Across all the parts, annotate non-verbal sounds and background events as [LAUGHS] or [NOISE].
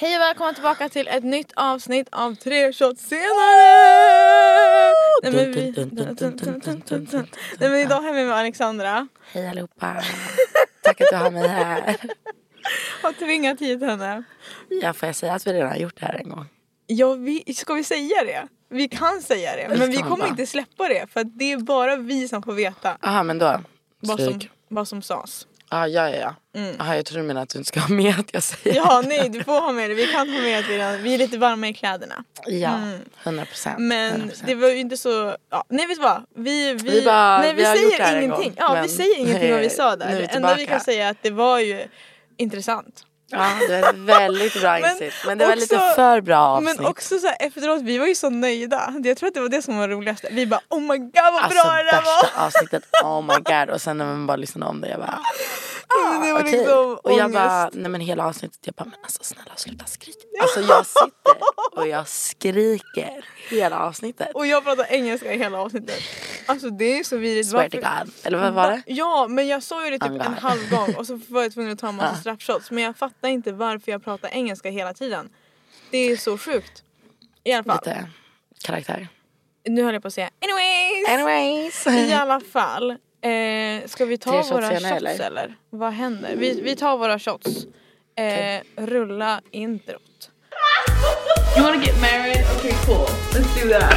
Hej och välkomna tillbaka till ett nytt avsnitt av Tre shots senare! Nej men, vi... Nej, men idag är vi med Alexandra. Hej allihopa. Tack att du har mig här. Har tvingat hit henne. Ja, får jag säga att vi redan har gjort det här en gång? Ja, vi... Ska vi säga det? Vi kan säga det, men vi man kommer bara. inte släppa det för att det är bara vi som får veta Jaha, men då. vad som, Stryk. vad som sades. Ja, ja, ja. ja. Jaha, jag tror du menar att du inte ska ha med att jag säger Ja, nej, du får ha med det. Vi kan ha med att vi, redan- vi är lite varma i kläderna. Ja, 100 procent. Mm. Men det var ju inte så... Ja, nej vet du vad? Vi, vi, Vi bara, nej, vi, vi har gjort det säger här en ingenting. gång, ja, vi men- säger ingenting vad vi sa [LAUGHS] Nu där. är vi Det enda vi tillbaka. kan säga är att det var ju intressant. Ja, det var ett väldigt bra [LAUGHS] Men insikt. Men det var lite också- för bra avsnitt. Men också så här, efteråt, vi var ju så nöjda. Jag tror att det var det som var roligast. Vi bara oh my god vad Alltså bra det där var. [LAUGHS] värsta avsnittet, oh my god. Och sen när man bara lyssnade om det, jag bara Men det var okej. liksom och jag ångest. bara, nej men hela avsnittet, jag bara men alltså snälla sluta skrika. Alltså jag [LAUGHS] sitter och jag skriker hela avsnittet. Och jag pratade engelska i hela avsnittet. Alltså det är så vidrigt. Swear to Varför- god. Eller vad var det? Ja men jag sa ju det typ Oh God. en halv gång och så var jag tvungen att ta en massa [LAUGHS] Ja. straffshots. Men jag fattar inte varför jag pratar engelska hela tiden. Det är så sjukt. I alla fall. Lite karaktär. Nu höll jag på att säga anyways. Anyways. I alla fall. Eh, ska vi ta Tre våra shots shots senare, eller? eller? Vad händer? Vi, vi tar våra shots. Eh, Rulla introt. You wanna get married? Okay cool. Let's do that.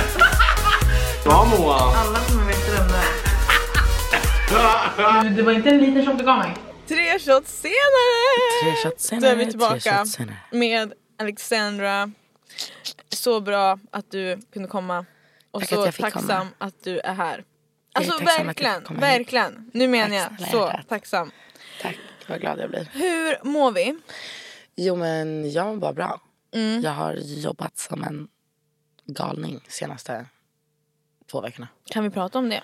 Alla kommer veta vem det är. Det var inte en liten shot du gav mig. Tre shots senare! Tre shots senare. Då är vi tre tillbaka shots senare. med Alexandra. Så bra att du kunde komma. Och Tack så att jag fick tacksam komma. att du är här. är Alltså tacksam att jag fick verkligen, komma hit. verkligen. Nu menar Tack jag snälla så hjärtat. tacksam. Tack, vad glad jag blir. Hur mår vi? Jo men jag mår bara bra. Mm. Jag har jobbat som en galning senaste två veckorna. Kan vi prata om det?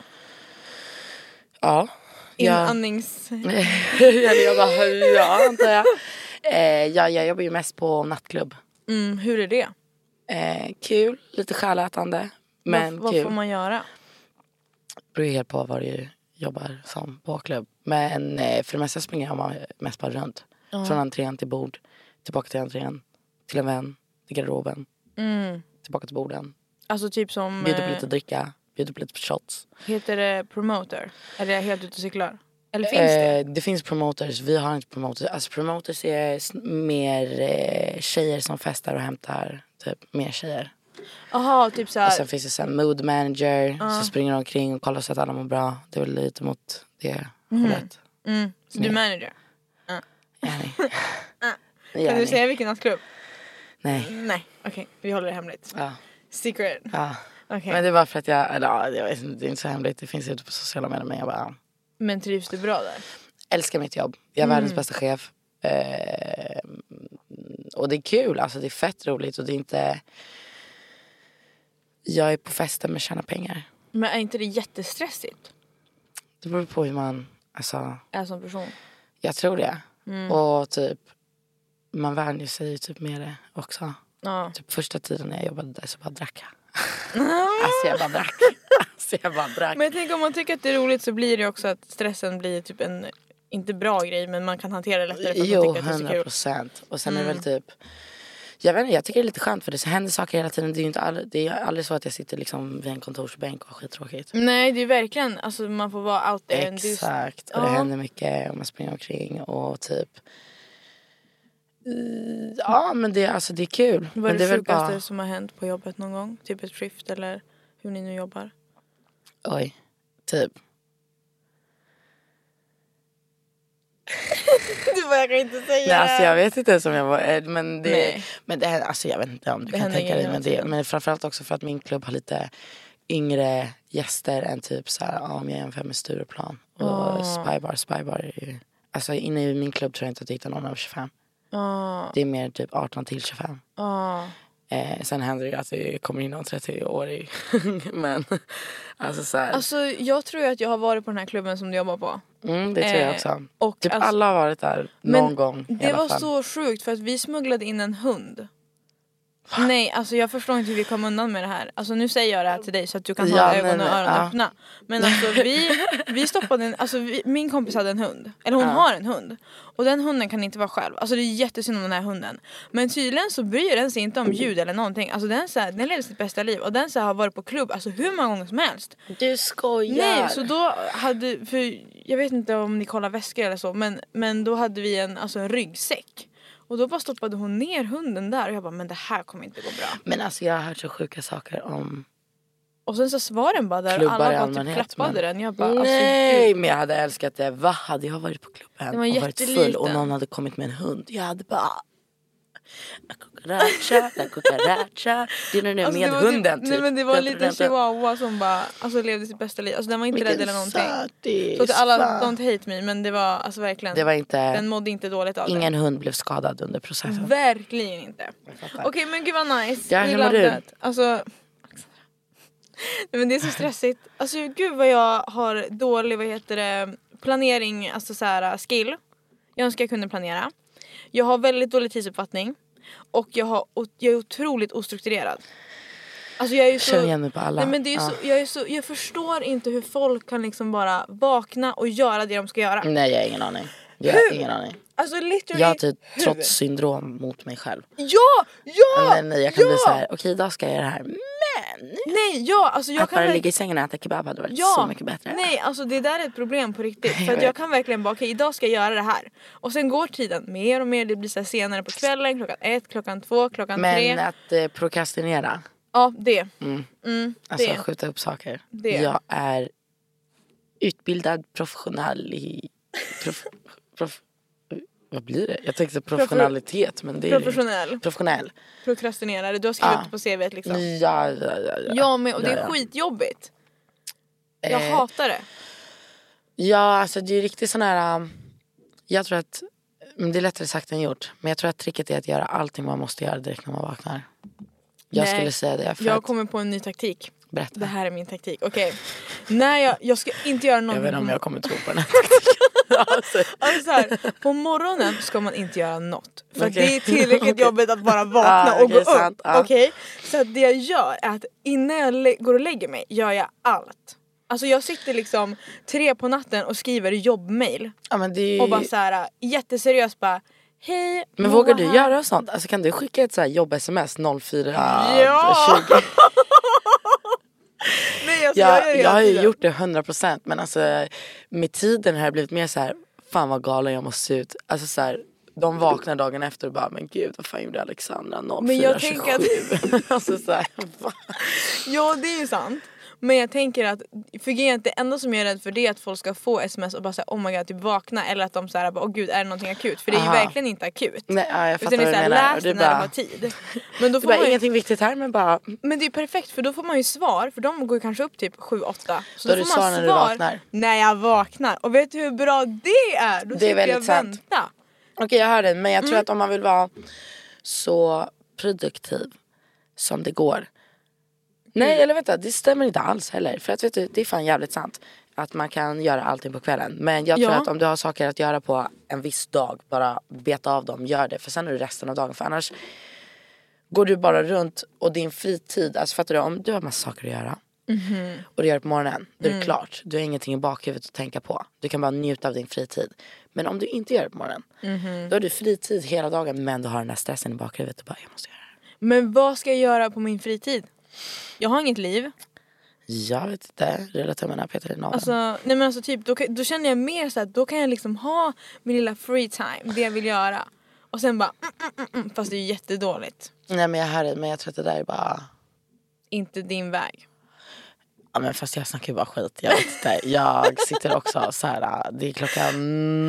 Ja. Jag, Inandnings... [LAUGHS] eller jag bara, ja antar jag. Eh, ja, jag jobbar ju mest på nattklubb. Mm, hur är det? Eh, kul, lite själätande. Men vad, vad kul. får man göra? beror ju helt på vad du jobbar som på klubb. Men eh, för det mesta springer jag ma- mest bara runt. Från entrén till bord, tillbaka till entrén, till en vän, till garderoben, Mm. tillbaka till borden. Alltså typ som... Bjuder på eh, lite dricka, bjuder på lite shots. Heter det promoter? Eller är jag helt ute och cyklar? Eller finns det? Eh, det finns promoters, vi har inte promoters. Alltså promoters är s- mer eh, tjejer som festar och hämtar typ mer tjejer. Jaha, typ Och såhär... sen finns det sen mood manager som springer omkring och kollar så att alla mår bra. Det är väl lite mot det hållet. Mm, så du är manager? [LAUGHS] Jenny. Ah. Kan du Jenny. säga vilken nattklubb? Nej. Nej, okej. Vi håller det hemligt. Ja. Secret. ja. Okej. Men det var för att jag, eller ja, jag vet inte, det är inte så hemligt. Det finns ute på sociala medier. Men jag bara Men trivs du bra där? älskar mitt jobb. Jag är världens bästa chef. Eh, och det är kul, alltså det är fett roligt och det är inte... Jag är på festen men tjänar pengar. Men är inte det jättestressigt? Det beror på hur man, alltså Är som person? jag tror det. Och typ, man vänjer sig ju typ med det också. Ja. Typ första tiden när jag jobbade där så bara drack jag. [LAUGHS] alltså jag bara drack. Alltså jag bara drack. Men jag tänker om man tycker att det är roligt så blir det också att stressen blir typ en, inte bra grej men man kan hantera det lättare för att Jo, man tycker att det är så 100 kul. Mm. procent. Och sen är det väl typ... Jag, vet inte, jag tycker det är lite skönt för det så händer saker hela tiden. Det är ju inte all, det är aldrig så att jag sitter liksom vid en kontorsbänk och har skittråkigt. Nej det är verkligen, alltså man får vara out there. and do- Exakt. Och det Ja. händer mycket och man springer omkring och typ... Mm, Ja men det, alltså, det är kul. Vad men är det det är väl sjukaste bara... som har hänt på jobbet någon gång? Typ ett skift eller hur ni nu [LAUGHS] jobbar? Oj. Typ. Du bara jag kan inte säga Nej, alltså, jag vet inte ens om jag var eh, men det, Nej. men det händer- alltså, Jag vet inte om du kan händer tänka dig grejer men, hela det, men framförallt också för att min klubb har lite yngre Ah. gäster än typ så här, ja, om jag jämför med Stureplan och Spybar. Spybar är ju Alltså inne i min klubb tror jag inte att jag hittar någon över 25. Ja, Det är mer typ 18 till 25. ja. Eh, sen händer det ju att det kommer in någon 30-årig. [LAUGHS] Men alltså så här. Alltså jag tror ju att jag har varit på den här klubben som du jobbar på. mm, det tror jag eh, också. och typ alltså- alla har varit där Men någon gång i Det alla var fall. så sjukt för att vi smugglade in en hund. Nej, alltså jag förstår inte hur vi kom undan med det här. Alltså nu säger jag det här till dig så att du kan Ja, hålla nej, ögonen och nej, öronen ja. öppna. Men alltså vi, vi stoppade en, alltså vi, min kompis hade en hund. Eller hon Ja. har en hund. Och den hunden kan inte vara själv. Alltså det är jättesynd om den här hunden. Men tydligen så bryr den sig inte om ljud eller någonting. Alltså den, så här, den lever sitt bästa liv och den så här, har varit på klubb alltså hur många gånger som helst. Du skojar! Nej, så då hade, för jag vet inte om ni kollar väskor eller så, men, men då hade vi en, alltså en ryggsäck. Och då bara stoppade hon ner hunden där och jag bara, men det här kommer inte gå bra. Men alltså jag har hört så sjuka saker om... Och sen så var den bara där Klubbar och i alla bara typ allmänhet, klappade men- den. Jag bara, alltså Nej gud. men jag hade älskat det. Va? Hade jag varit på klubben Den var och varit full jätteliten. och någon hade kommit med en hund. Jag hade bara... La cucaracha, la cucaracha. Det är den där Alltså, det med var typ- hunden typ. Nej men det var en liten chihuahua som bara alltså, levde sitt bästa liv. Alltså den var inte rädd eller någonting. någonting. Så till alla, don't hate me men det var alltså verkligen, Det var inte... den mådde inte dåligt av Ingen hund blev skadad under processen. det. Verkligen inte. fattar. Okej men gud vad nice. Ja, Vi hur mår laddar. du? Alltså, Alexandra. Nej, men det är så stressigt. Alltså gud vad jag har dålig vad heter det, planering, alltså så här, skill. Jag önskar jag kunde planera. Jag har väldigt dålig tidsuppfattning. Och jag, har, o- jag är otroligt ostrukturerad. Alltså jag är ju så... Känner igen mig på alla. Ah. Nej, men det är ju Ja. så, jag, är så, jag förstår inte hur folk kan liksom bara vakna och göra det de ska göra. Nej jag har ingen aning. Jag har ingen aning. Alltså literally... Mm. Jag har typ trotssyndrom mot mig själv. Ja! Ja! Men nej, jag kan ja! bli såhär, okej idag ska jag göra det här. Men! Nej, ja, alltså jag att kan bara verkligen... ligga i sängen och äta kebab hade varit Ja, så mycket bättre. nej alltså det där är ett problem på riktigt. För Jag att jag vet. kan verkligen bara okej idag ska jag göra det här. Och sen går tiden mer och mer, det blir så här senare på kvällen, klockan ett, klockan två, klockan Men tre. att eh, prokrastinera, Ja det. Mm. Mm, alltså det. skjuta upp saker. Det. Jag är utbildad professionell i... Prof, prof, vad blir det? Jag tänkte professionalitet men det är Professionell. Professionell. Prokrastinerare, du har skrivit Ah. på CVt liksom. Ja, ja, ja. ja. Jag med och det Ja, är ja. skitjobbigt. Jag Eh, hatar det. Ja, alltså det är riktigt sån här... um, Jag tror att... men Det är lättare sagt än gjort. Men jag tror att tricket är att göra allting man måste göra direkt när man vaknar. Jag Nej, skulle säga det. För Jag att, kommer på en ny taktik. berätta. Det här är min taktik, okej. När jag, jag ska inte göra jag någonting vet inte på om jag kommer tro på den här taktiken. alltså, Alltså så här, på morgonen ska man inte göra något. För att Okej. det är tillräckligt Okej. jobbigt att bara vakna Ah, och gå okej, upp. sant, ah. Okej? Så att det jag gör är att innan jag lä- går och lägger mig gör jag allt. Alltså jag sitter liksom tre på natten och skriver jobbmail ja, men det är ju... och bara så här jätteseriöst bara Hej Men Moa vågar du här." göra sånt? Alltså kan du skicka ett så här jobb-sms 04 Ja! 20? Nej, alltså, jag, gör Jag, det jag hela har ju tiden. gjort det 100% men alltså med tiden har jag blivit mer så här fan vad galen jag måste se ut. Alltså så här, de vaknar dagen efter och bara men gud vad fan gjorde Alexandra 04 Men jag tänker att- 27? [LAUGHS] alltså så här, va? Ja det är ju sant. Men jag tänker att för grejen är att det enda som jag är rädd för det är att folk ska få sms och bara säga oh my god typ vakna eller att de säger åh gud är det någonting akut? För det är ju Aha. verkligen inte akut. Nej, ja, jag fattar Utan det vad är du såhär, menar. Och läs det det när du är bara, har tid. Men, då det får är bara man ju, ingenting viktigt här men bara men det är ju perfekt för då får man ju svar för de går ju kanske upp typ 7-8. Så Då då, har du får man svar när du vaknar. När jag vaknar. Och vet du hur bra det är? Då är slipper jag väldigt sant. vänta. Okej jag hör dig men jag tror att om man vill vara så produktiv som det går. Nej eller vänta det stämmer inte alls heller. För att vet du det är fan jävligt sant. Att man kan göra allting på kvällen. Men jag tror Ja. att om du har saker att göra på en viss dag. Bara beta av dem, gör det. För sen är det resten av dagen. För annars går du bara runt och din fritid. Alltså fattar du? Om du har massa saker att göra. Och du gör det på morgonen. Då är Mm. det klart. Du har ingenting i bakhuvudet att tänka på. Du kan bara njuta av din fritid. Men om du inte gör det på morgonen. Mhm. Då har du fritid hela dagen. Men du har den där stressen i bakhuvudet. Och bara jag måste göra det. här." Men vad ska jag göra på min fritid? Jag har inget liv. Jag vet inte. Rulla tummarna, peta i naveln. Alltså, nej men alltså typ, då, kan- då känner jag mer så att då kan jag liksom ha min lilla free time, det jag vill göra. Och sen bara mm, mm, mm, mm, fast det är ju jättedåligt. Nej men jag hör dig. Men jag tror att det där är bara. Inte din väg. Ja men fast jag snackar ju bara skit. Jag vet inte. Jag sitter också så här. Det är klockan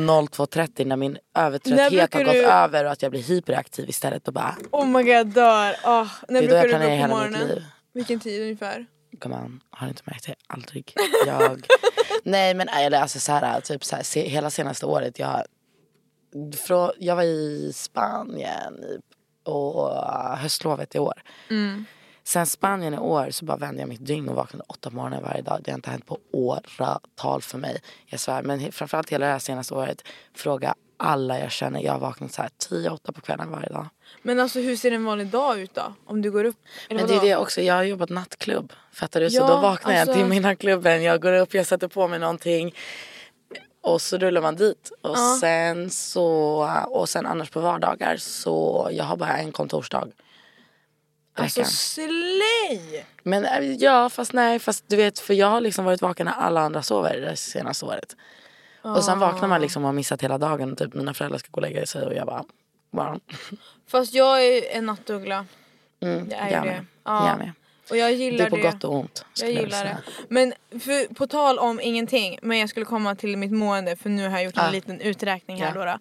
02.30 när min övertrötthet brukar har gått du- över och att jag blir hyperaktiv istället och bara. Oh my god jag dör. Ah, när Det är då brukar jag du gå planerar upp på hela mitt morgonen? liv. Vilken tid ungefär? Gumman, har du inte märkt det? äh, Aldrig. Jag... Nej men eller alltså så här, typ så här, se, hela senaste året jag Från, jag var i Spanien i, och, äh, höstlovet i år. Sen Spanien i år så bara vände jag mitt dygn och vaknade åtta på morgonen varje dag. Det har inte hänt på åratal för mig. Jag svär. Men he- framförallt hela det här senaste året. Fråga alla jag känner. Jag har vaknat så här 10-8 på kvällen varje dag. Men alltså hur ser en vanlig dag ut då? Om du går upp? Eller Men det är vadå? det också, jag har jobbat nattklubb. Fattar du? Ja, så då vaknar jag alltså- till mina klubben, jag går upp, jag sätter på mig någonting. Och så rullar man dit. Och, sen så, och sen annars på vardagar så jag har bara en kontorsdag. i Alltså veckan. slay! Men eh, ja, fast nej, fast du vet för jag har liksom varit vaken när alla andra sover det senaste året. Och sen vaknar Ah. man liksom och har missat hela dagen. Typ mina föräldrar ska gå och lägga sig och jag bara, bara Fast jag är en nattuggla. mm, Jag är jag det. med. Ja. Jag med. Och jag Det gillar är det. på gott och ont. Jag skulle vilja gillar säga. det. Men för, på tal om ingenting, men jag skulle komma till mitt mående för nu har jag gjort en Ah. liten uträkning här Ja. Laura.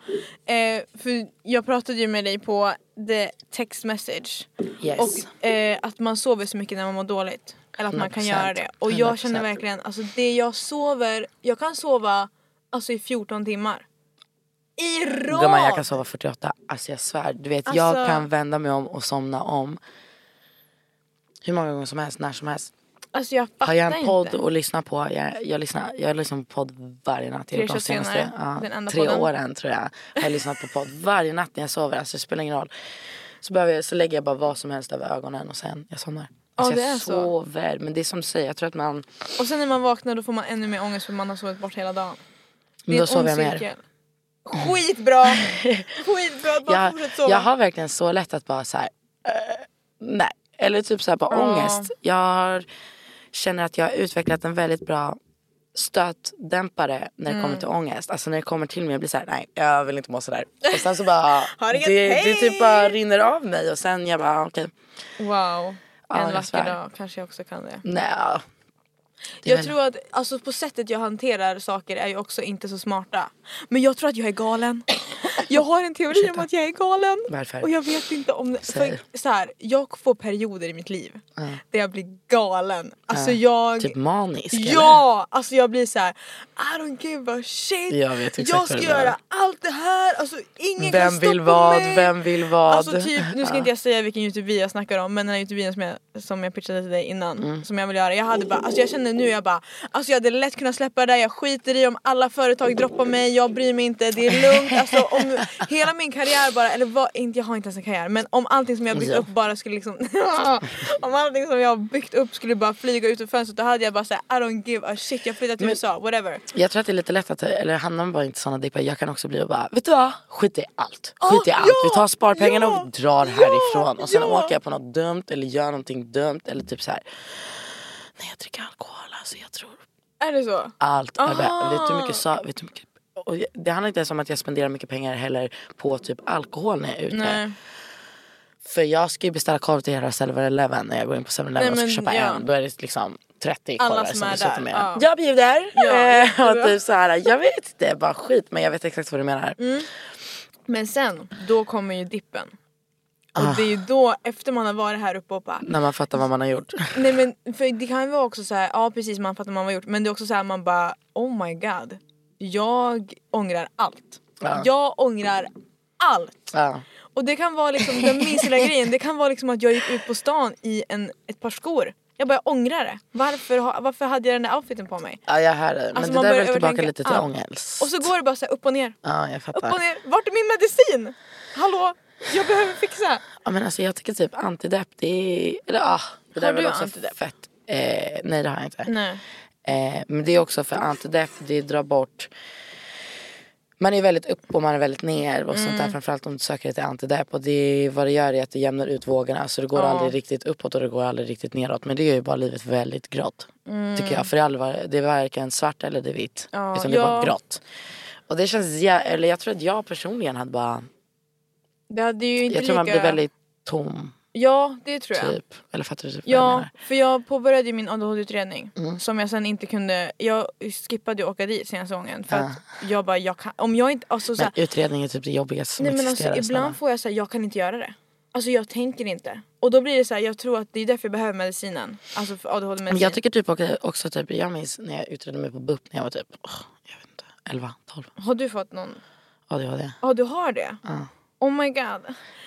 Eh, för jag pratade ju med dig på the text message Yes. och eh, att man sover så mycket när man mår dåligt. Eller att man kan 100%. göra det. Och jag känner 100%. verkligen, alltså det jag sover, jag kan sova alltså i 14 timmar. I rad! Gumman jag kan sova 48, alltså jag svär. Du vet jag Alltså- kan vända mig om och somna om. Hur många gånger som helst, när som helst. Alltså jag fattar Har jag en podd inte. att lyssna på, jag, jag, lyssnar, jag lyssnar på podd varje natt. Jag har Tre gjort de shots senaste senare, ja, den enda tre podden. åren tror jag. Har jag lyssnat på [LAUGHS] podd varje natt när jag sover, alltså det spelar ingen roll. Så, behöver jag, så lägger jag bara vad som helst över ögonen och sen jag somnar. Alltså det är jag så. sover, men det är som du säger, jag tror att man, Och sen när man vaknar då får man ännu mer ångest för man har sovit bort hela dagen. men då sover jag mer. Skitbra! Skitbra att man jag, fortsätter sova. jag har verkligen så lätt att bara så här, eh, nej. Eller typ så här bara Ja. ångest. Jag har, känner att jag har utvecklat en väldigt bra stötdämpare när det Mm. kommer till ångest. Alltså när det kommer till mig, jag blir så här, nej jag vill inte må sådär. Och sen så bara, [LAUGHS] Ha det det, gött, det, hej! typ bara rinner av mig och sen jag bara okej, Wow. Ja, en jag vacker svär. dag kanske jag också kan det. nej. Det är jag väl- tror att alltså, på sättet jag hanterar saker är ju också inte så smarta. Men jag tror att jag är [LAUGHS] galen. Jag har en teori om att jag är galen. Varför? Och jag vet inte om det. Säg. För, så här, jag får perioder i mitt liv där jag blir galen. Alltså jag... Typ manisk. eller? Ja! Alltså jag blir så här: I don't give a shit. Jag vet exakt jag vad ska du menar. göra allt det här. Alltså ingen kan Vem stoppa vill vad? mig. Vem vill vad? Alltså typ, nu ska inte jag säga vilken Youtube jag snackar om men den här Youtube som jag, som jag pitchade till dig innan Mm. som jag vill göra. Jag hade bara, alltså jag kände nu jag bara, alltså jag hade lätt kunnat släppa det där, jag skiter i om alla företag droppar mig, jag bryr mig inte, det är lugnt. Alltså [LAUGHS] om hela min karriär bara, eller vad, inte, jag har inte ens en karriär men om allting som jag byggt Ja. upp bara skulle liksom, [LAUGHS] om allting som jag byggt upp skulle bara flyga ut ur fönstret då hade jag bara såhär I don't give a shit, jag flyttar till USA, whatever. Jag tror att det är lite lätt att, eller Hanna var inte såna dippar, jag kan också bli och bara vet du vad? Skit i allt, Ah, skit i allt. Vi ja, tar sparpengarna ja, och drar ja, härifrån och sen ja. åker jag på något dumt eller gör någonting dumt eller typ så här. Nej jag dricker alkohol alltså jag tror Är det så? allt är Ah. bä- Vet du hur mycket, sa- vet du hur mycket och jag- det handlar inte ens om att jag spenderar mycket pengar heller på typ alkohol när jag är ute. Nej. För jag ska ju beställa korv till hela 7-Eleven när jag går in på 7-Eleven och ska men, köpa ja. en. Då är det liksom 30 Alla korvar som som, är du sätter där, med. ja. Jag bjuder! jättebra. Ja, [LAUGHS] och typ så här, jag vet inte, bara skit men jag vet exakt vad du menar. Mm. Men sen, då kommer ju dippen. Och det är ju då, efter man har varit här uppe och bara När man fattar vad man har gjort. Nej men för det kan ju vara också så här, ja precis man fattar man vad gjort men det är också så här man bara oh my god. Jag ångrar allt. Ja. Jag ångrar allt. Ja. Och det kan vara liksom den minsta lilla grejen, det kan vara liksom att jag gick ut på stan i en, ett par skor. Jag bara jag ångrar det. Varför, ha- varför hade jag den där outfiten på mig? ja, jag hör dig. Men Alltså, det man där är börjar väl tillbaka övertänka. lite till Ja. ångest. Och så går det bara så här upp och ner. Ja, jag Upp och fattar. ner. Vart är min medicin? Hallå? Jag behöver fixa. Ja, men alltså, jag tycker typ antidepp, det är... Eller, ah, det där Har är väl du också antidepp? fett. Eh, nej, det har jag inte. Nej. Eh, men det är också för antidepp, det drar bort man är väldigt upp och man är väldigt ner och Mm. sånt där framförallt om du söker dig till antidepp och det vad det gör är att det jämnar ut vågorna så det går Ja. aldrig riktigt uppåt och det går aldrig riktigt neråt men det gör ju bara livet väldigt grått tycker jag för det är, allvar, det är varken svart eller det är vitt Mm. Ja, utan det är ja. bara grått och det känns, jä- eller jag tror att jag personligen hade bara Det hade ju inte jag tror man lika... blir väldigt tom Ja det tror jag. typ eller fattar du typ vad jag Ja, menar? Mm. för jag påbörjade ju min ADHD-utredning som jag sen inte kunde, jag skippade ju att åka dit senaste gången för att jag bara, jag kan, om jag inte, alltså såhär, Men utredning är typ det jobbigaste som nej men existerar alltså ibland snälla. får jag säga jag kan inte göra det. Alltså jag tänker inte. Och då blir det så här, jag tror att det är därför jag behöver medicinen. Alltså för Men ADHD-medicin. jag tycker typ också- också typ, jag minns när jag utredde mig på BUP när jag var typ, åh, jag vet inte, 11, 12. Har du fått någon? ADHD. Ja du har det? Ja. Oh my god. Jag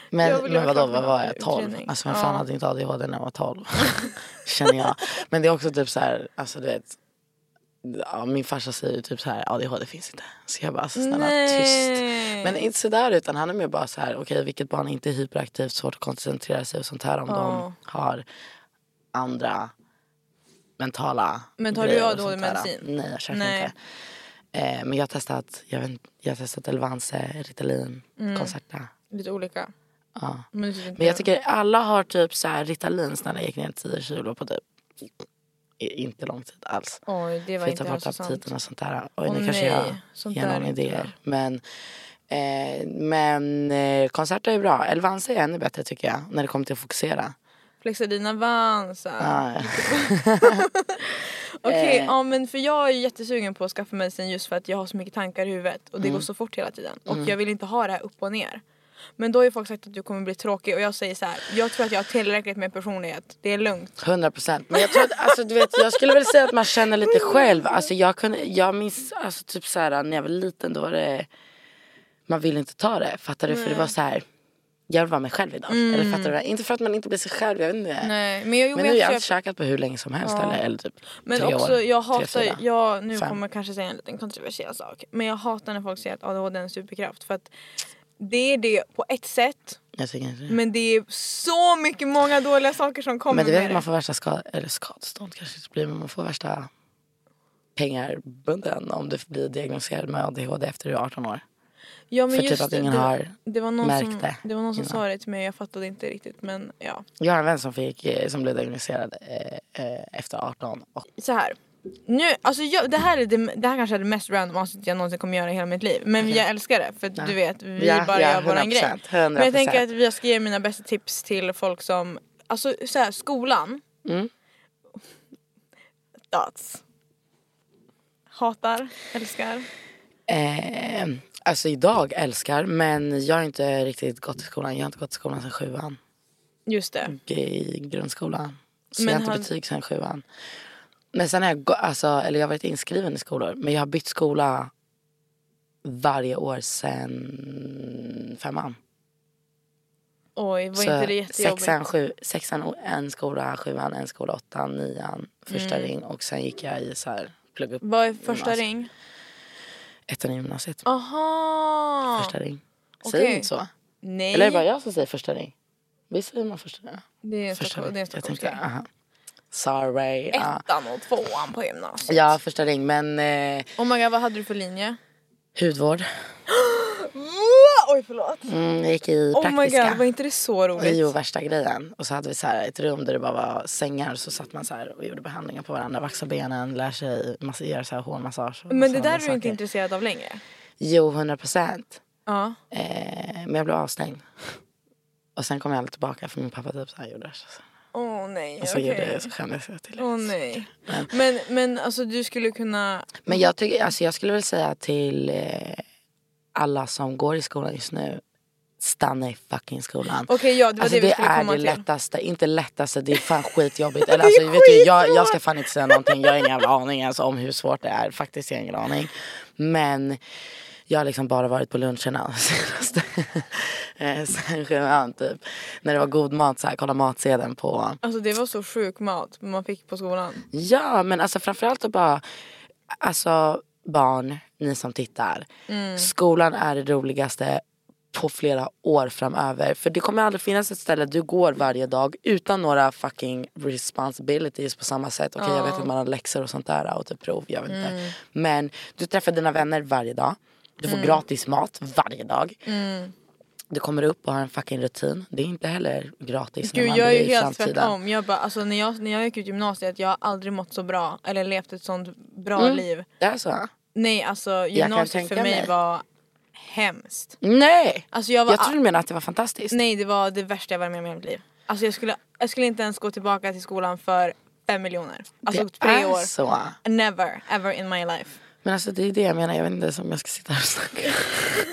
Men, vill men göra vadå, klart vad min var jag? 12? utredning. Alltså vem fan Ja. hade inte ADHD när jag var 12? [LAUGHS] Känner jag. Men det är också typ så här, alltså du vet. Ja, min farsa säger ju typ så här, ADHD finns inte. Så jag bara, alltså, snälla tyst. Nej. Men inte sådär utan han är mer bara så här, okej vilket barn är inte hyperaktivt, svårt att koncentrera sig och sånt här om Ja. de har andra mentala Men tar du grejer och ADHD-medicin? sånt där. Nej jag käkar Nej. inte. Eh, men jag har testat, jag, vet, inte, jag har testat Elvanse, Ritalin, Mm. Concerta. Lite olika. Ja. Men, det tycker inte Men jag tycker alla har typ så här Ritalin snälla jag gick ner 10 kilo på typ i- inte lång tid alls. Oj det var För att inte ta bort hälsosamt. aptiten och sånt där. Oj, Åh, nu kanske nej. jag Sånt ger där är någon inte idéer. Men, eh, men eh, konserter är bra. Elvanse är ännu bättre tycker jag. När det kommer till att fokusera. Flexadina Avanza. Ah, ja. Okej, Eh. ja men för jag är ju jättesugen på att skaffa medicin just för att jag har så mycket tankar i huvudet och det Mm. går så fort hela tiden och jag vill inte ha det här upp och ner. Men då har ju folk sagt att du kommer bli tråkig och jag säger så här, jag tror att jag har tillräckligt med personlighet, det är lugnt. 100 procent. Men jag tror att, alltså, du vet, jag skulle väl säga att man känner lite själv. Alltså, jag, kunde, jag minns, alltså, typ så här, när jag var liten då var det, man ville inte ta det. Fattar du? För det var så här, jag vill vara mig själv idag. Eller fattar du? Inte för att man inte blir sig själv, jag vet inte. Mm. Nej, men jag, jo, Men men nu har jag jag köper, inte käkat på hur länge som helst. Eller, eller typ men tre också år, jag tre, hatar, fyra. jag, nu Fem. kommer jag kanske säga en liten kontroversiell sak, men jag hatar när folk säger att ADHD är en superkraft för att det är det på ett sätt Jag tycker inte det. men det är så mycket många dåliga saker som kommer Mm. Men du vet med att det. man får värsta skad eller skadestånd kanske inte blir men man får värsta pengarbunden om du blir diagnostiserad med ADHD efter du är 18 år. Ja, men För typ just att det, ingen det, har det var någon märkt som, det Det var någon som innan. sa det till mig jag fattade inte riktigt men ja. Jag har en vän som, fick, eh, som blev diagnostiserad eh, eh, efter 18 och Så här. Nu, alltså jag, det, här är det, det här kanske är det mest random avsnitt jag någonsin kommer göra i hela mitt liv. Men jag älskar det för att du vet vi Ja, bara ja, gör våran grej. 100%, Men jag tänker 100%. att jag ska ge mina bästa tips till folk som, alltså så här, skolan. Mm. Dots. Hatar, älskar. Eh, alltså idag älskar men jag har inte riktigt gått i skolan. Jag har inte gått i skolan sedan sjuan. Just Mm. det. I grundskolan. Så Men jag har inte har- betyg sedan sjuan. Men sen har jag, gå- alltså, eller jag har varit inskriven i skolor. Men jag har bytt skola varje år sen femman. Oj, var Så inte det jättejobbigt? Sexan, sju, sexan och en skola, sjuan, en skola, åttan, nian, första Mm. ring. Och sen gick jag i så här, plugg upp Vad är första gymnasiet. ring? Ettan i gymnasiet. Aha! Första ring. Ah, Okej. Säger ni inte så? Nej. Eller är det bara jag som säger första ring? Visst säger man första ring? Det är en Första Stockholm- det är en Jag tänkte, Stockholmsgrej. aha. Sorry. ja. Ettan och tvåan på gymnasiet. Ja, första ring. Men eh, Oh my god, vad hade du för linje? hudvård. Oj förlåt. Mm, jag gick i Oh my praktiska. god, var inte det så det är ju roligt? värsta grejen. Och så hade vi så här ett rum där det bara var sängar. Så satt man så här och gjorde behandlingar på varandra. Vaxade benen, lär sig, massa, gör så här hårmassage. och Men det såna där är du inte saker. intresserad av längre? Jo, 100 procent. Ja. Eh, men jag blev avstängd. Och sen kom jag aldrig tillbaka för min pappa typ så här gjorde. Så, Åh oh, nej. och så okej. gjorde jag så skämdes jag till Åh nej. Men- Men, men alltså du skulle kunna... Men jag, tycker, alltså jag skulle väl säga till eh, alla som går i skolan just nu. Stanna i fucking skolan. Okej ja, det var alltså det vi det skulle är komma det till. lättaste, inte lättaste, det är [LAUGHS] fan skitjobbigt. Eller, alltså, vet du, jag, jag ska fan inte säga någonting, jag har ingen jävla aning alltså, om hur svårt det är. Faktiskt jag har ingen aning. Men jag har liksom bara varit på luncherna senaste, [LAUGHS] eh, sen sjuan typ. När det var god mat, så här, kolla matsedeln på Alltså det var så sjuk mat man fick på skolan. Ja, men alltså framförallt att bara... Alltså barn, ni som tittar. Mm. Skolan är det roligaste på flera år framöver. För det kommer aldrig finnas ett ställe du går varje dag utan några fucking responsibilities på samma sätt. Okej, jag vet att man har läxor och sånt där och typ prov, jag vet inte. Mm. Men du träffar dina vänner varje dag. Du får gratis mat varje dag. Mm. Du kommer upp och har en fucking rutin. Det är inte heller gratis Gud när man jag är blir ju i helt framtiden. tvärtom. Jag bara, alltså, när, jag, när jag gick ut gymnasiet, jag har aldrig mått så bra eller levt ett sånt bra liv. Det är så? Nej alltså gymnasiet tänka för mig, mig. var hemskt. Nej! Alltså jag var Jag tror du menar att det var fantastiskt. Nej det var det värsta jag varit med om i mitt liv. Alltså jag skulle, jag skulle inte ens gå tillbaka till skolan för fem miljoner. Alltså det tre är år. så. Never ever in my life. Men alltså det är det jag menar, jag vet inte ens om jag ska sitta här och snacka.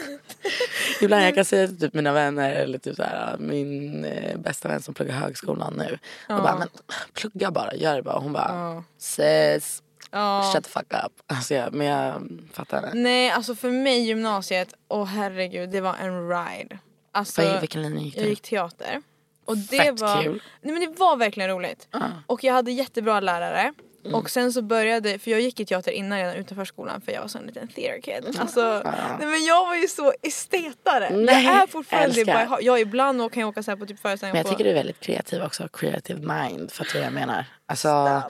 [LAUGHS] Ibland jag kan säga till typ mina vänner eller typ så här, min eh, bästa vän som pluggar högskolan nu. Och bara, men plugga bara, gör det bara. Och Hon bara, ses. Ja. Shut the fuck up. Alltså, jag, men jag fattar det. Nej alltså för mig gymnasiet, åh herregud det var en ride. Alltså, Vad- Vilken linje gick jag du? gick teater. Och det Fett var, kul. Ah. Nej men det var verkligen roligt. Ja. Och jag hade jättebra lärare. Mm. Och sen så började, för jag gick i teater innan redan utanför skolan för jag var sån liten theater Ah. kid. Alltså, nej men jag var ju så estetare. Nej, jag är fortfarande älskar. bara, jag, har- jag ibland kan jag åka så här på typ Men föreställningar jag på... tycker du är väldigt kreativ också. Creative mind. Fattar du vad jag menar? Alltså,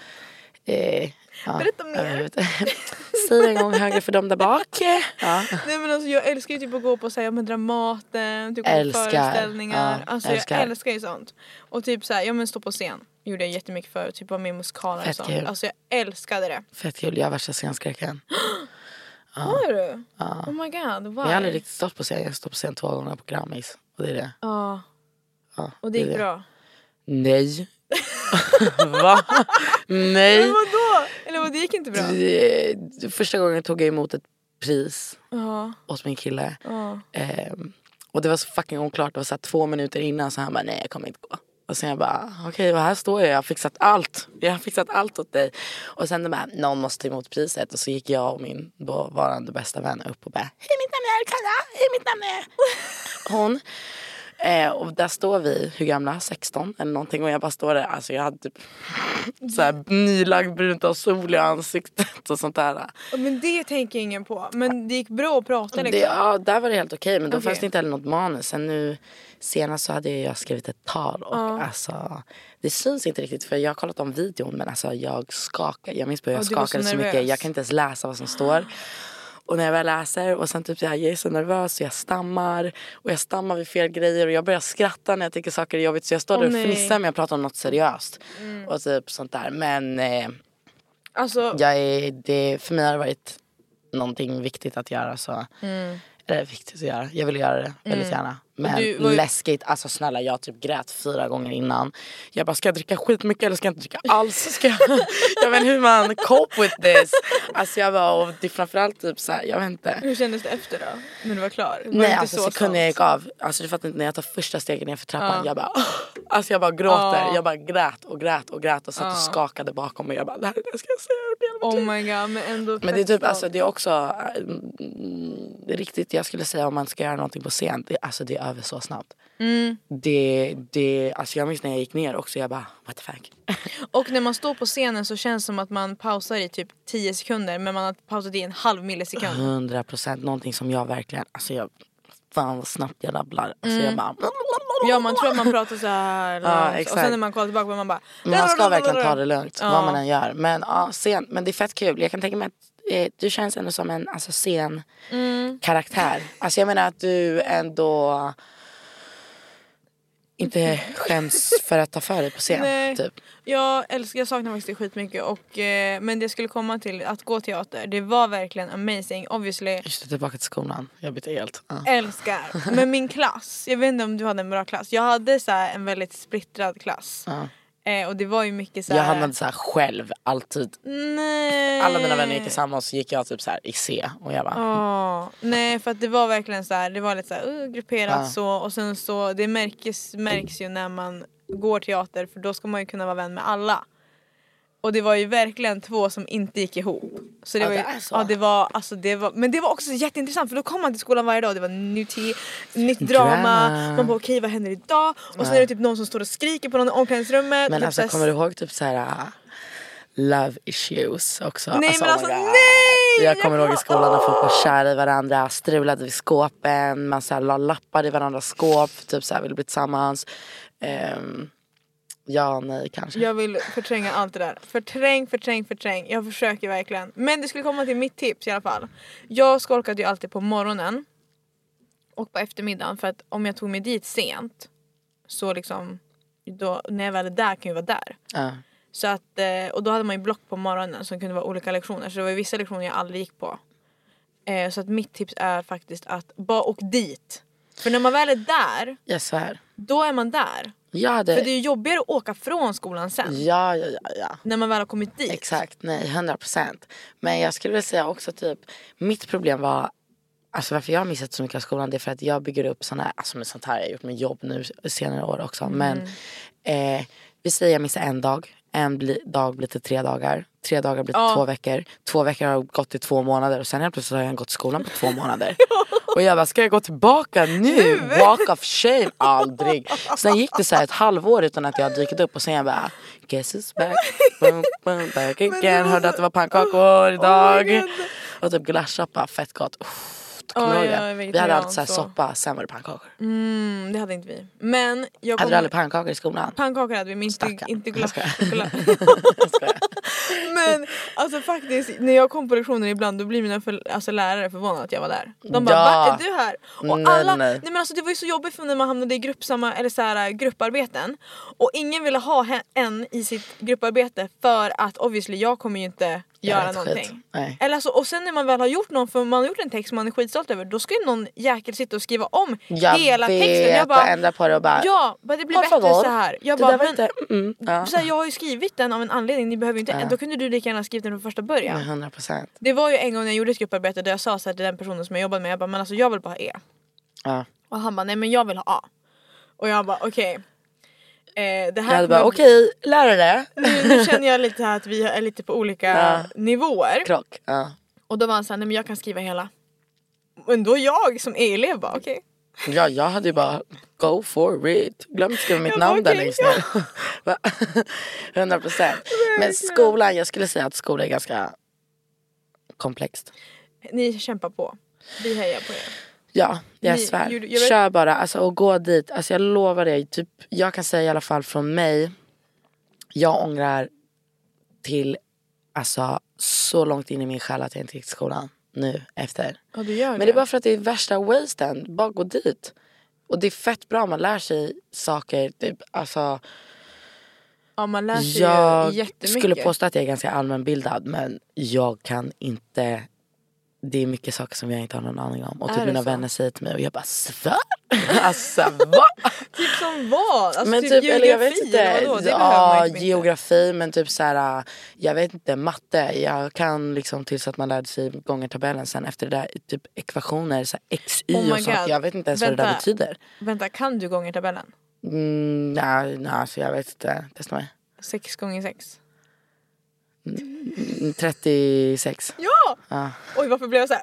eh, ja, Berätta mer. överhuvud- [LAUGHS] Säg en gång högre för dem där bak. Ja. Nej men alltså jag älskar ju typ att gå på så här, ja, men Dramaten, typ gå på Älskar. föreställningar. Ja, alltså älskar. jag älskar ju sånt. Och typ så här, ja men stå på scen. Gjorde jag jättemycket för typ vara med i musikaler och Fett sånt. kul. Alltså jag älskade det. Fett kul. Jag har värsta scenskräcken. Har du? Oh my god, why? Men jag har aldrig riktigt stått på scen. Jag har stått på scen två gånger på Grammis. Och det är det. Ja, Ja, och det är gick bra. [LAUGHS] Nej. Va? Nej. Men vadå? Eller vad, det gick [LAUGHS] inte bra? Det- Första gången tog jag emot ett pris Ja, åt min kille. ja. Ehm, och det var så fucking oklart. Det var så här två minuter innan så han bara nej jag kommer inte gå. Och sen jag bara okej och här står jag. Jag har fixat allt. Jag har fixat allt åt dig. Och sen de bara någon måste ta emot priset. Och så gick jag och min dåvarande bästa vän upp och bara hej mitt namn är Alcala. Hej mitt namn är [LAUGHS] hon. Eh, och där står vi, hur gamla? 16 eller någonting. Och jag bara står där. Alltså jag hade typ [LAUGHS] så här nylagd brunt av sol i ansiktet och sånt där. Men det tänker ingen på. Men det gick bra att prata liksom. Det, ja, där var det helt okej. Men då Okej. fanns det inte heller något manus. Sen nu senast så hade jag skrivit ett tal. Och alltså, det syns inte riktigt. För jag har kollat om videon. Men alltså jag skakar. Jag minns på hur jag Ja, du var så skakade så, mycket. nervös. Jag kan inte ens läsa vad som står. Och när jag väl läser och sen typ så här, jag är så nervös och jag stammar. Och jag stammar vid fel grejer och jag börjar skratta när jag tycker saker är jobbigt. Så jag står Åh, där och nej. Mm. fnissar men jag pratar om något seriöst. Och typ sånt där. Men eh, Alltså, jag är, det, för mig har det varit någonting viktigt att göra. Så. Eller viktigt att göra. Jag ville göra det väldigt gärna. Men Mm. du var ju- läskigt. Alltså snälla jag typ grät fyra gånger innan. Jag bara ska jag dricka skitmycket eller ska jag inte dricka alls? Ska jag, [LAUGHS] jag vet inte hur man cope with this. Alltså jag var och det är framförallt typ såhär jag vet inte. hur kändes det efter då? När du var klar? Var det Nej inte alltså så sekunden jag sant? gick av, alltså du fattar inte när jag tar första steget nerför trappan jag bara Alltså jag bara gråter, Ja. jag bara grät och grät och grät och satt och skakade bakom mig jag bara det här är det jag ska säga under hela mitt Oh liv." my god men ändå Men det fett är typ, alltså, stolt. det är också äh, mm, det är riktigt, jag skulle säga om man ska göra någonting på scen, det, alltså det är över så snabbt. Det, det, alltså jag minns när jag gick ner också, jag bara what the fuck. Och när man står på scenen så känns det som att man pausar i typ 10 sekunder men man har pausat i en halv millisekund. 100 procent, någonting som jag verkligen, alltså jag, fan vad snabbt jag rabblar. Alltså jag bara. Ja man tror att man pratar så här Ja, långt. och exakt. sen när man kollar tillbaka på man bara Men man ska verkligen ta det lugnt Ja. vad man än gör. Men, ja, scen, men det är fett kul. Jag kan tänka mig att eh, du känns ändå som en alltså, sen Mm. karaktär. Alltså jag menar att du ändå inte skäms för att ta för dig på scen. Nej. Typ. Jag, älskar, jag saknar faktiskt det skitmycket och, eh, men det jag skulle komma till att gå teater det var verkligen amazing obviously Just det, tillbaka till skolan. Jag bytte helt. Ja. älskar men min klass jag vet inte om du hade en bra klass jag hade så här, en väldigt splittrad klass Ja. eh, och det var ju mycket så här, Jag hamnade så här själv alltid. nej. Alla mina vänner gick i samma och så gick jag typ så här i C och jag bara Ja, Ah, nej för att det var verkligen så här, det var lite så här, uh, grupperat Ja. så och sen så det märks, märks ju när man går teater för då ska man ju kunna vara vän med alla. Och det var ju verkligen två som inte gick ihop. Så det Ja, var ju, det är så. Ja, det var, alltså, det var, men det var också jätteintressant för då kom man till skolan varje dag och det var ny tid, nytt drama. Drama. Man bara okej vad händer idag? Och sen är det typ någon som står och skriker på någon i omklädningsrummet. Men typ alltså så här- kommer du ihåg typ så här ah, love issues också? Nej men oh my alltså God. nej! Jag kommer ihåg i skolan när Ah! folk var kära i varandra, strulade vid skåpen, man så här la lappar i varandras skåp, typ så här ville bli tillsammans. Ehm, ja, nej kanske. Jag vill förtränga allt det där. Förträng, förträng, förträng. Jag försöker verkligen. Men det skulle komma till mitt tips i alla fall. Jag skolkade ju alltid på morgonen och på eftermiddagen för att om jag tog mig dit sent så liksom då, när jag väl är där kan jag vara där. Ja. Så att, eh, och då hade man ju block på morgonen som kunde vara olika lektioner så det var ju vissa lektioner jag aldrig gick på. Eh, så att mitt tips är faktiskt att bara åk dit. För när man väl är där, Jag svär. då är man där. Jag hade... För det är ju jobbigare att åka från skolan sen Ja, ja, ja, ja. när man väl har kommit dit. Exakt, nej 100 procent. Men jag skulle vilja säga också typ, mitt problem var Alltså varför jag har missat så mycket av skolan det är för att jag bygger upp såna, alltså med Mm. sånt här har jag gjort med jobb nu senare år också. Men eh, vi säger jag missar en dag En bli, dag blir till tre dagar. Tre dagar blir till Ja. två veckor. Två veckor har gått till två månader. Och sen helt plötsligt har jag gått i skolan på två [LAUGHS] månader. Och jag bara, ska jag gå tillbaka nu? Walk of shame. Aldrig. Sen gick det så här ett halvår utan att jag hade dykt upp. Och sen jag bara, guess it's back. Boom, boom, back again. Hörde att det var Oh pannkakor idag. och typ glasschoppa, fett gott. Uff, kommer Oj, du ihåg oj, det? Vi vegetarian, hade alltid så här så. soppa, sen var det pannkakor. Mm, det hade inte vi. Men jag Hade du kommer- aldrig pannkakor i skolan? Pannkakor hade vi men inte, Stackarn. inte Jag glass. skojar. glass. [LAUGHS] Jag skojar. [LAUGHS] men alltså faktiskt när jag kom på lektioner ibland då blir mina för, alltså, lärare förvånade att jag var där. De bara Ja. va är du här? Och Nej, alla, nej. nej. men alltså, det var ju så jobbigt för när man hamnade i gruppsamma, eller så här, grupparbeten och ingen ville ha he- en i sitt grupparbete för att obviously jag kommer ju inte göra ett skit. någonting. Nej. Eller alltså, och sen när man väl har gjort någon, för man har gjort en text som man är skitstolt över då ska ju någon jäkel sitta och skriva om Jag hela vet, texten. Jag och bara, ändra på det och bara ja, bara, det blir "Por bättre favor, så här. Jag det bara, där var men- inte, mm, ja. så här, jag har ju skrivit den av en anledning, ni behöver ju inte, då kunde du lika gärna skrivit den från första början. Men 100 procent. Det var ju en gång när jag gjorde ett grupparbete där jag sa så här till den personen som jag jobbade med, jag bara men alltså jag vill bara ha E. Ja. Och han bara nej men jag vill ha A. Och jag bara okej. Eh, det Jag här hade bara kommer- okej, lärare. nu, nu känner jag lite här att vi är lite på olika Ja. nivåer. Krock. Ja. Och då var han såhär, nej men jag kan skriva hela. Men då jag som E-elev bara okej. ja, jag hade ju bara go for it. Glöm inte skriva mitt Jag bara, namn där okej, längst ner. [LAUGHS] Va? 100 procent. Men skolan, jag skulle säga att skolan är ganska komplext. Ni kämpar på. Vi hejar på er. Ja, jag Ni- svär. gjorde- jag vet- Kör bara alltså, och gå dit. Alltså, jag lovar dig. Typ, jag kan säga i alla fall från mig. Jag ångrar till alltså, så långt in i min själ att jag inte gick till skolan nu efter. Ja du gör Men det är bara för att det är värsta wasten. Bara gå dit. Och det är fett bra. Man lär sig saker. Typ, alltså, Ja man lär sig ju jag Alltså, jättemycket. skulle påstå att jag är ganska allmänbildad men jag kan inte det är mycket saker som jag inte har någon aning om. Och Är typ det mina så? vänner säger till mig och jag bara svär. [LAUGHS] Alltså va? Typ som vad? Alltså men typ, geografi eller, vadå? Det behöver ja, man ju typ inte. geografi men typ så här, äh, jag vet inte, matte. Jag kan liksom tills att man lärde sig gånger tabellen sen efter det där typ ekvationer, så här, x, y Oh my och sånt. God. Jag vet inte ens vad det där Vänta. betyder. Vänta, kan du gångertabellen? Mm, nej, nej, alltså jag vet inte. Testa mig. sex gånger sex Mm, 36. Ja! Ja. Oj varför blev jag såhär?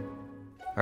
All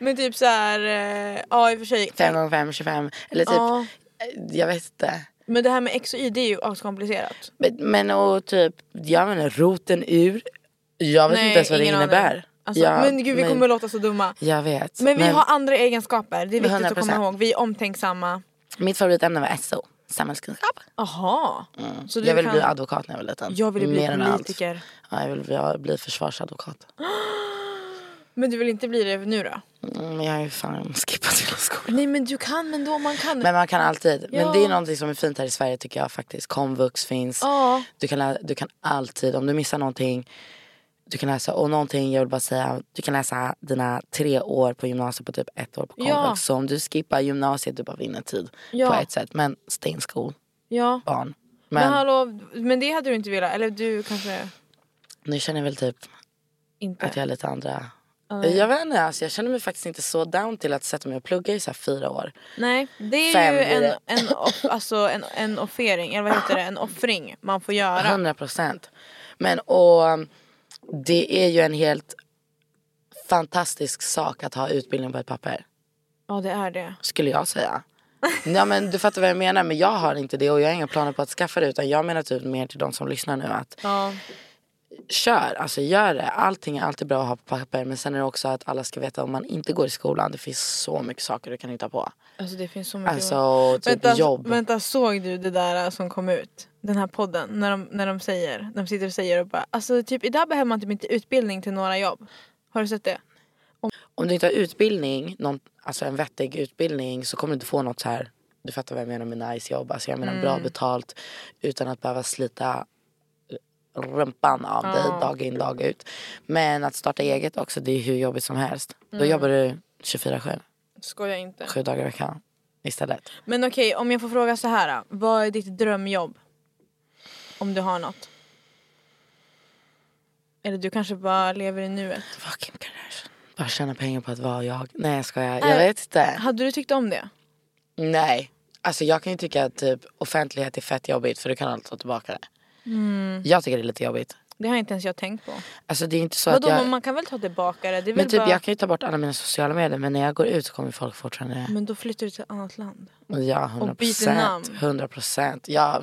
Men typ såhär, eh, ja i och för sig. 5 gånger 5 25. Eller typ, Ja, jag vet inte. men det här med x och y det är ju askomplicerat. Men, men och typ, jag menar roten ur. Jag vet inte ens vad det ingen aning. innebär. Alltså, jag, men gud vi kommer låta så dumma. Jag vet. Men vi har andra egenskaper, det är viktigt att 100%. komma ihåg. Vi är omtänksamma. Mitt favoritämne var SO, samhällskunskap. Aha. Så du Mm. jag ville kan- bli advokat när jag var liten. Jag ville bli Mer än allt. politiker. Ja, jag ville bli, bli försvarsadvokat. Men du vill inte bli det nu då? Mm, jag har ju fan skippat hela skolan. Nej men du kan men då man kan. Men man kan alltid. Men Ja. det är någonting som är fint här i Sverige tycker jag faktiskt. Komvux finns. Ja. Du kan, lä- du kan alltid, om du missar någonting, du kan läsa, och någonting jag vill bara säga, du kan läsa dina tre år på gymnasiet på typ ett år på komvux. Ja. Så om du skippar gymnasiet, du bara vinner tid på Ja. ett sätt. Men stay in school, ja. barn. Men, Men hallå, men det hade du inte velat? Eller du kanske nu känner jag väl typ inte? att jag är lite andra. Jag vet inte, alltså, jag känner mig faktiskt inte så down till att sätta mig och plugga i så här fyra år. Nej, det är Fem ju blir en, det. en, [LAUGHS] off, alltså en, en offering, eller vad heter det, en offring man får göra. 100 procent. Men och det är ju en helt fantastisk sak att ha utbildning på ett papper. Ja det är det. skulle jag säga. Ja, men du fattar vad jag menar, men jag har inte det och jag har inga planer på att skaffa det utan jag menar typ mer till de som lyssnar nu att Ja. kör, alltså gör det. Allting är alltid bra att ha på papper. Men sen är det också att alla ska veta om man inte går i skolan. Det finns så mycket saker du kan hitta på. Alltså det finns så mycket. Alltså typ vänta, jobb. vänta, såg du det där som kom ut? Den här podden, när de, när de säger, när de sitter och säger och bara alltså typ idag behöver man typ inte utbildning till några jobb. Har du sett det? Om du inte har utbildning, någon, alltså en vettig utbildning så kommer du inte få något så här. Du fattar vad jag menar med nice jobb. Alltså jag menar bra betalt utan att behöva slita rumpan av dig dag in dag ut. Men att starta eget också det är hur jobbigt som helst. Då jobbar du 24-7, Skojar inte. sju dagar i veckan istället. Men okej, om jag får fråga så här. då. Vad är ditt drömjobb? Om du har något. Eller du kanske bara lever i nuet. Fucking Kardashian. Bara tjäna pengar på att vara jag. Nej jag skojar, jag vet inte. Hade du tyckt om det? Nej. Alltså jag kan ju tycka att typ, offentlighet är fett jobbigt för du kan alltid ta tillbaka det. Jag tycker det är lite jobbigt. Det har inte ens jag tänkt på. Alltså det är inte så Vadå, att jag... men man kan väl ta tillbaka det? det är väl Men typ bara... jag kan ju ta bort alla mina sociala medier men när jag går ut så kommer folk fortfarande... men då flyttar du till ett annat land. Ja, Mm. Och 100 byter namn. procent. 100 procent. Ja,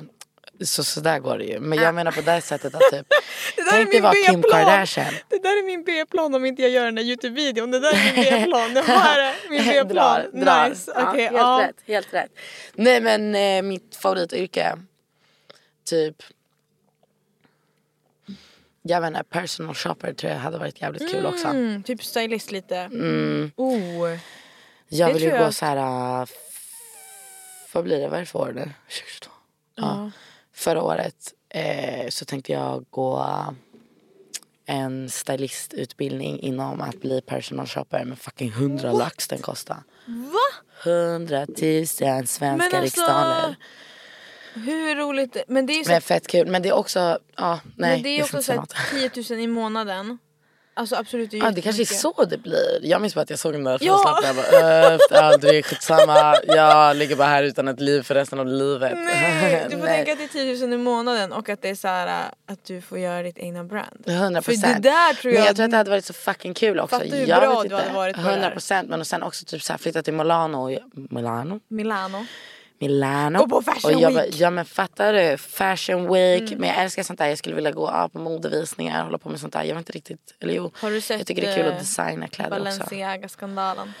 så, så där går det ju. Men jag menar på det här sättet att typ... Ah. [LAUGHS] Det där Tänk är dig min vara Kim B-plan. Kardashian. Det där är min B-plan om inte jag gör den där Youtube-videon. Det där är min B-plan. Nu har jag [LAUGHS] det. Min B-plan. Drar, drar. Nice. Ja, Okej, helt ja. rätt, helt rätt. Nej men eh, mitt favorityrke, typ, jag vet inte, personal shopper tror jag hade varit jävligt kul också. Mm, typ stylist lite. Mm. Oh. Jag det vill ju tror gå jag. så här, eh, f- vad blir det, vad är det för år nu? 2022? Ja. Förra året eh, så tänkte jag gå äh, en stylistutbildning inom att bli personal shopper med fucking 100 lax den kostar. Va? 100 000 svenska Men alltså, riksdaler. Hur roligt? Men det är ju så, Men fett kul. Men det är också, ja nej. men det är ju jag ska också inte så säga något. här 10 000 i månaden. Alltså absolut, det är Ja, det kanske är jättemycket. så det blir. Jag minns bara att jag såg den där Ja. ja. jag bara, "Öh, ja, du är skitsamma. Jag ligger bara här utan ett liv för resten av livet. Nej, du får Nej. tänka att det är 10 000 i månaden och att det är så här äh, att du får göra ditt egna brand. 100 För det där tror Men jag- jag tror att det hade varit så fucking kul också. Fattar hur jag bra vet du inte. hade varit på det här. 100 Men och sen också typ så här, flytta till Milano. och- Milano? Milano. Milano. Gå på Fashion och jag bara, Week. Mm. ja men fattar du? Fashion week. Men jag älskar sånt där. Jag skulle vilja gå ja, på modevisningar hålla på med sånt där. Jag vet inte riktigt. Eller jo. Har du sett, jag tycker det är kul eh, att designa kläder också. Balenciaga-skandalen.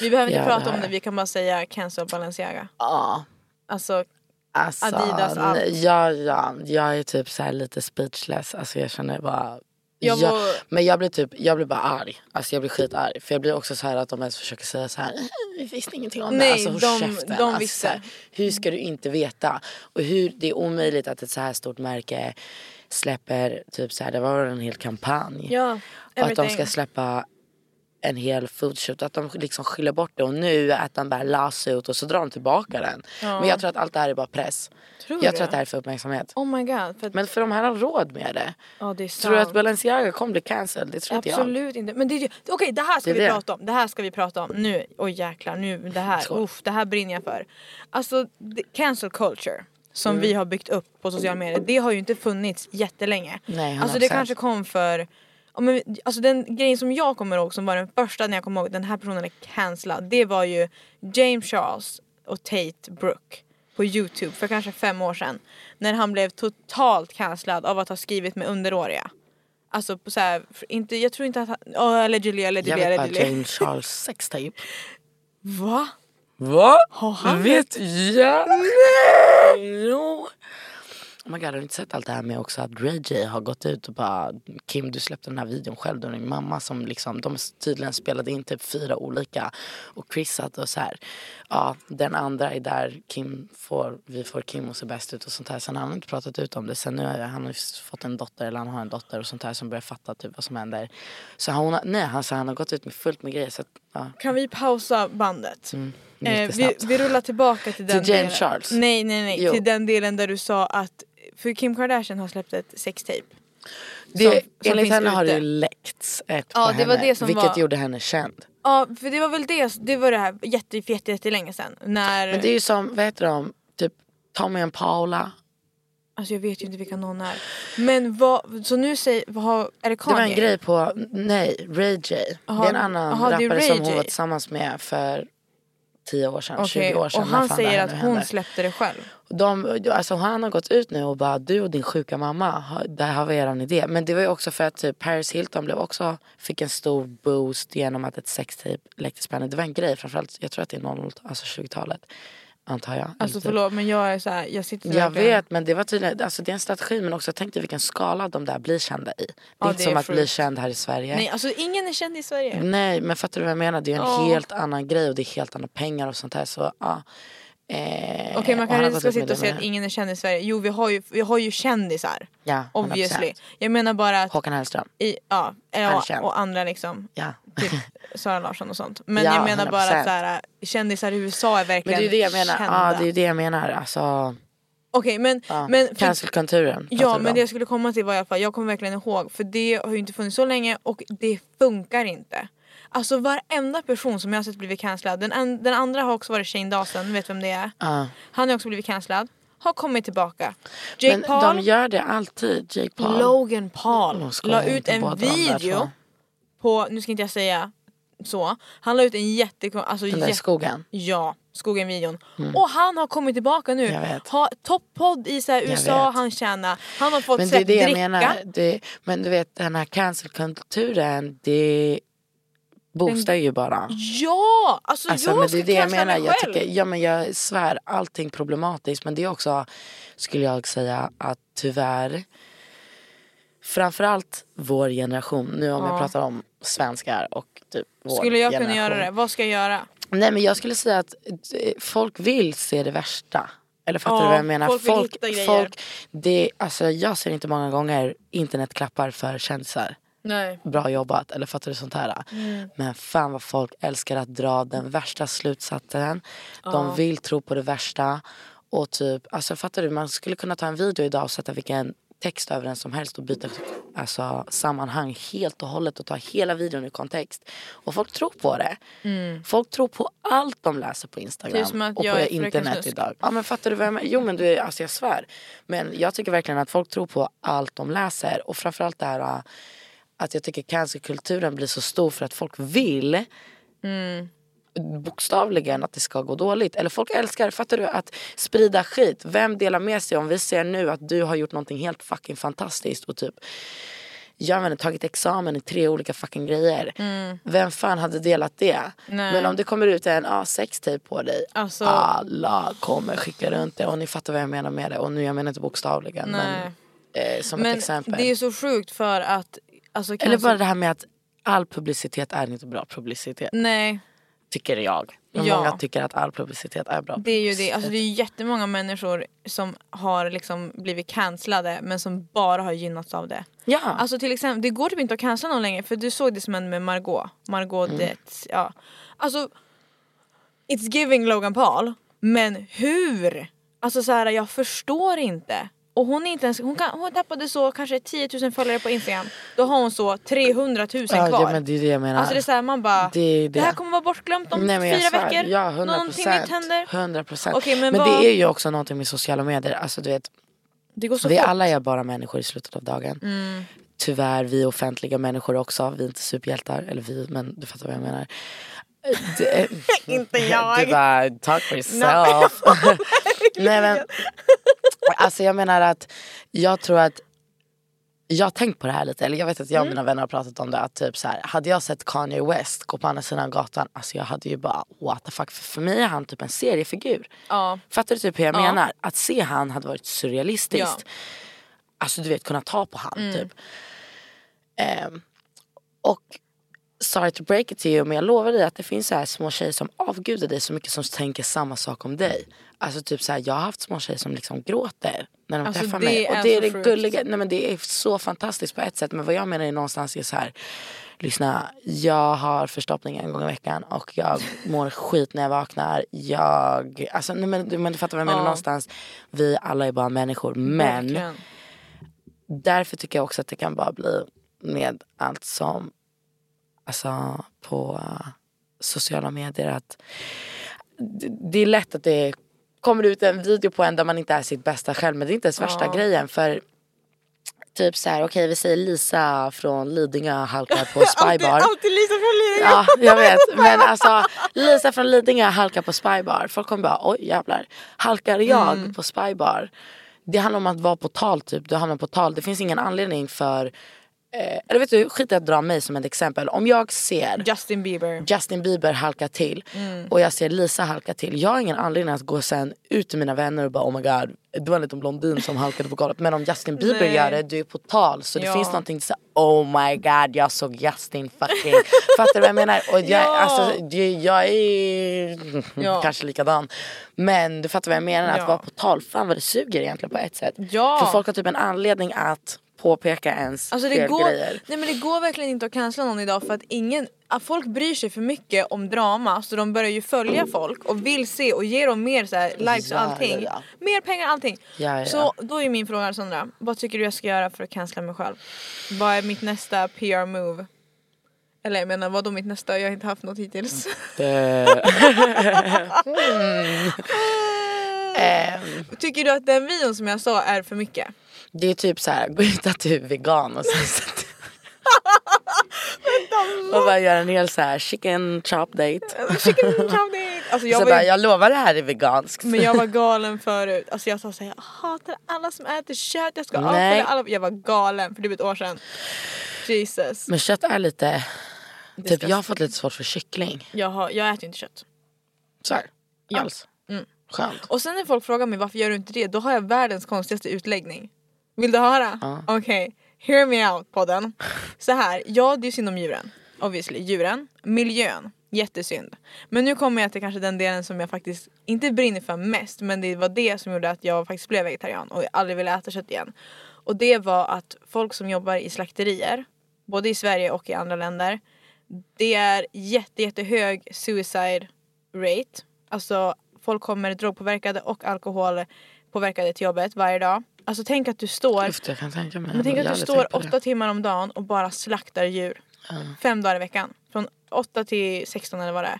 Vi behöver inte Ja, det prata har om det, jag. vi kan bara säga cancel Balenciaga. Ja. Alltså, Alltså, Adidas, allt. nej, ja, ja, jag är typ så här lite speechless. Alltså jag känner bara... Jag jag, var- men jag blir typ, jag blir bara arg. Alltså jag blir skitarg. För jag blir också så här att de ens försöker säga så här. Vi visste ingenting om Nej, det. Alltså håll de- käften. de alltså, visste. så här, hur ska du inte veta? Och hur det är omöjligt att ett så här stort märke släpper typ så här, det var en hel kampanj. ja. Och att de everything. ska släppa en hel foodshoot. Att de liksom skyller bort det. Och nu att de bara lass ut och så drar de tillbaka den. Men jag tror att allt det här är bara press. Tror jag du? tror att det här är för uppmärksamhet. Oh my god. För att, Men för de här har råd med det. ja, det är Tror du sant. att Balenciaga kommer bli cancelled? Det tror inte jag. Absolut inte. Men det, är- okej, det här ska Det är vi det. prata om. Det här ska vi prata om. Nu, oj jäklar, nu, det här, Skål. uff, det här brinner jag för. Alltså, det- cancel culture som Mm. vi har byggt upp på sociala medier, det har ju inte funnits jättelänge. Nej, alltså det 100%. kanske kom för ja, men, vi- alltså den grejen som jag kommer ihåg som var den första när jag kom ihåg den här personen är cancellad. Det var ju James Charles och Tate Brooke på Youtube för kanske fem år sedan. När han blev totalt cancellad av att ha skrivit med underåriga. Alltså på så här, för inte, jag tror inte att han, oh, allegedly, Jag allegedly, vet bara allegedly. James Charles sextape. Va? Va? Har han vet jag? Nej! Jo. Oh my god, har du inte sett allt det här med också att Ray J har gått ut och bara Kim du släppte den här videon själv, du och din mamma som liksom de tydligen spelade in typ fyra olika och Chris satt och så här ja den andra är där Kim får, vi får Kim och se bäst ut och sånt här sen har han inte pratat ut om det sen nu har han har ju fått en dotter eller han har en dotter och sånt här som börjar fatta typ vad som händer så hon har, nej han, så han har gått ut med fullt med grejer så att, ja, Kan vi pausa bandet? Eh, vi, Mm, jättesnabbt. vi rullar tillbaka till den Till James delen. Charles? Nej, nej, nej. Jo. Till den delen där du sa att för Kim Kardashian har släppt ett sextape. Det, som enligt finns henne har det ute. ju läckts ett Ja, på det var henne, det som vilket var- gjorde henne känd. Ja, för det var väl det, det var det här jätte, jätte, jättelänge sedan. När, Men det är ju som, vad heter de, typ Tommy och Paula. Alltså jag vet ju inte vilka någon är. Men vad, så nu säger, vad har, är det Det Kanye? var en grej på, nej, Ray J. Aha, det är en annan aha, det är rappare Ray som hon J. var tillsammans med för 10 år sedan, Okej, 20 år sedan. och när han fan det säger här att nu hon händer. släppte det själv. De, alltså han har gått ut nu och bara du och din sjuka mamma, ha- där har vi eran idé. Men det var ju också för att typ, Paris Hilton blev också, fick en stor boost genom att ett sextape läcktes på henne. Det var en grej framförallt, jag tror att det är 00, alltså 20-talet. Antar jag. Alltså Eller typ- förlåt men jag är så här, jag sitter Jag verkligen- vet men det var tydligen, alltså det är en strategi men också tänk dig vilken skala de där blir kända i. Det är Ja, inte det som är att bli sjukt. känd här i Sverige. Nej alltså ingen är känd i Sverige. Nej, men fattar du vad jag menar? Det är ju en Ja. helt annan grej och det är helt andra pengar och sånt här. Så, ja. eh, Okej man och han kanske har inte gått ska ut med sitta och det säga med- att ingen är känd i Sverige. Jo vi har ju, vi har ju kändisar. Ja, 100%. Obviously. Jag menar bara att, Håkan Hellström. i, ja, är ja känd. och andra liksom. Ja. [LAUGHS] Typ Sara Larsson och sånt. Men Ja, jag menar bara 100%. att så här, kändisar i USA är Men verkligen det är ju det jag menar. kända. Ja, det är ju det jag menar. Alltså, Okej men, ja. men för- Cancelkulturen. Alltså, Ja men det jag skulle komma till var i alla fall, jag kommer verkligen ihåg för det har ju inte funnits så länge och det funkar inte. Alltså varenda person som jag har sett blivit cancellad, den, an- den andra har också varit Shane Dawson, vet vem det är? Ja. Han har också blivit cancellad, har kommit tillbaka. Jake men Paul, de gör det alltid. Jake Paul. Logan Paul Jag skojar la ut inte, båda en de där video två. på, nu ska inte jag säga så, han la ut en jättekon, alltså Den där i jätte skogen. Ja, skogen-videon. Och han har kommit tillbaka nu. Mm. Jag vet. Ha toppodd i så här, USA, vet. han tjänar. Han har fått Men det är släppt det jag dricka. menar. Det, men du vet den här cancelkulturen. Det boostar ju bara. Ja! Alltså, Alltså, jag men det ska är det jag cancella menar. mig Jag, själv. tycker, ja, men jag svär, allting problematiskt. Men det är också, skulle jag säga, att tyvärr framförallt vår generation, nu om jag pratar om svenskar och typ vår Skulle jag kunna generation. göra det? Vad ska jag göra? Nej men jag skulle säga att eh, folk vill se det värsta. Eller fattar Ja, du vad jag menar? folk vill hitta grejer. folk det, alltså, jag ser inte många gånger internetklappar för kändisar. Nej. Bra jobbat, eller fattar du sånt här? Mm. Men fan vad folk älskar att dra den värsta slutsatsen. De vill tro på det värsta. Och typ, alltså fattar du? Man skulle kunna ta en video idag och sätta vilken text över den som helst och byta alltså, sammanhang helt och hållet och ta hela videon ur kontext. Och folk tror på det. Folk tror på allt de läser på Mm. Det är Instagram som att och jag på är Fröken internet Snusk. idag. Ja men fattar du vad jag menar? Jo men du är, alltså jag svär. Men jag tycker verkligen att folk tror på allt de läser och framförallt det här ah, att jag tycker cancerkulturen blir så stor för att folk vill Mm. bokstavligen att det ska gå dåligt. Eller folk älskar, fattar du, att sprida skit. Vem delar med sig om vi ser nu att du har gjort någonting helt fucking fantastiskt och typ jag vet inte, tagit examen i tre olika fucking grejer. Vem fan hade delat det? Mm. Nej. Men om det kommer ut en A6-tejp på dig, ah, Alltså- alla kommer skicka runt det. Och ni fattar vad jag menar med det. Och nu, jag menar inte bokstavligen, Nej. men eh, som ett Men exempel. det är så sjukt för att... Alltså, Eller cancel- bara det här med att all publicitet är inte bra publicitet. Nej, Tycker jag. Men Ja. Många tycker att all publicitet är bra det är ju det. Alltså, det är ju jättemånga människor som har liksom blivit cancellade men som bara har gynnats av det. Ja. Alltså till exempel, det går typ inte att cancella någon längre för du såg det som hände med Margot. Margot Mm. det, ja. Alltså, it's giving Logan Paul. Men hur? Alltså så här, jag förstår inte. Och hon, är inte ens, hon, kan, hon tappade så kanske 10 000 följare på Instagram. Då har hon så 300 000 kvar. Ja, ja, men det är det jag menar. Alltså det är så här, man bara, Det det, är det. här kommer vara bortglömt om Nej, men jag fyra svär. veckor. Ja, 100 Någonting nytt händer. 100 procent. Okej, men men vad- det är ju också någonting med sociala medier. Alltså, du vet, Det går så vi fort. Mm. alla är bara människor i slutet av dagen. Tyvärr, vi är offentliga människor också. Vi är inte superhjältar. Eller vi, men du fattar vad [LAUGHS] jag menar. Det, Inte jag. Du bara, talk for yourself. [LAUGHS] Nej men, alltså jag menar att jag tror att jag har tänkt på det här lite, eller jag vet att jag Mm. och mina vänner har pratat om det. Att typ så här, hade jag sett Kanye West gå på andra sidan gatan, alltså jag hade ju bara what the fuck. För, för mig är han typ en seriefigur. Ja. Fattar du typ hur jag menar? Att se han hade varit surrealistiskt. Alltså du vet kunna ta på Mm. han typ. Ehm, och sorry to break it to you men jag lovar dig att det finns så här små tjejer som avgudar dig så mycket som tänker samma sak om dig. Alltså typ så här, jag har haft små tjejer som liksom gråter när de Alltså, träffar det mig. Och är det är så det sjukt. gulliga, nej men det är så fantastiskt på ett sätt men vad jag menar är någonstans är så här Lyssna, jag har förstoppning en gång i veckan och [LAUGHS] jag mår skit när jag vaknar. Jag, alltså, nej, men, du- men du fattar vad jag menar Ja. någonstans. Vi alla är bara människor men Verkligen. därför tycker jag också att det kan bara bli med allt som alltså på eh, sociala medier att det, det är lätt att det kommer ut en video på en där man inte är sitt bästa själv men det är inte ens värsta grejen för Typ så här, okej vi säger Lisa från Lidingö halkar på Spybar. Alltid Lisa från Lidingö. Ja, jag vet. Men alltså, Lisa från Lidingö halkar på Spybar. Folk kommer bara, oj jävlar. Halkar jag på Spybar? Det handlar om att vara på tal typ. Du hamnar på tal. Det finns ingen anledning för... Eh, eller vet du, skit i att dra mig som ett exempel. Om jag ser Justin Bieber. Justin Bieber halka till Mm. och jag ser Lisa halka till. Jag har ingen anledning att gå sen ut till mina vänner och bara oh my god, det var en liten blondin som halkade på golvet. Men om Justin Bieber Nej. gör det, du är på tal. Så det Ja. finns någonting så oh my god jag såg Justin fucking. [LAUGHS] Fattar du vad jag menar? Och jag, Ja. alltså, det- jag är Ja. [LAUGHS] kanske likadan. Men du fattar vad jag menar, att Ja. vara på tal. Fan vad det suger egentligen på ett sätt. Ja. För folk har typ en anledning att påpeka ens Alltså det fel går, grejer. nej men det går verkligen inte att cancella någon idag för att ingen, att folk bryr sig för mycket om drama så de börjar ju följa folk och vill se och ge dem mer så här, likes Ja, och allting. ja, Mer pengar allting. Ja, ja, Så ja. då är min fråga Sandra, vad tycker du jag ska göra för att cancella mig själv? Vad är mitt nästa PR move? Eller jag menar vadå mitt nästa, jag har inte haft något hittills. Eh, [LAUGHS] Tycker du att den videon som jag sa är för mycket? Det är typ så här, gå ut att du är vegan och sen så Och bara göra en hel så här chicken chop date. Chicken chowdate! Alltså jag Jag, så var bara, ju jag lovar det här är veganskt. Men jag var galen förut, alltså jag sa såhär jag hatar alla som äter kött, jag ska Nej. avfölja alla. Jag var galen för typ ett år sedan. Jesus. Men kött är lite, typ Disgusting. jag har fått lite svårt för kyckling. Jag, har, jag äter ju inte kött. Så här, alls. Mm. Skönt. Och sen när folk frågar mig varför gör du inte det, då har jag världens konstigaste utläggning. Vill du höra? Ja. Okej, hear me out podden. Så här, ja det är synd om djuren. Obviously, djuren. Miljön, jättesynd. Men nu kommer jag till kanske den delen som jag faktiskt inte brinner för mest men det var det som gjorde att jag faktiskt blev vegetarian och jag aldrig ville äta kött igen. Och det var att folk som jobbar i slakterier, både i Sverige och i andra länder, det är jätte, jättehög suicide rate. Alltså folk kommer drogpåverkade och alkoholpåverkade till jobbet varje dag. Alltså tänk att du står, Uff, jag kan tänka mig. men tänk Jag att har typ du aldrig står tänkt på det. åtta timmar om dagen och bara slaktar djur. Fem dagar i veckan. Från åtta till 16 eller vad det är.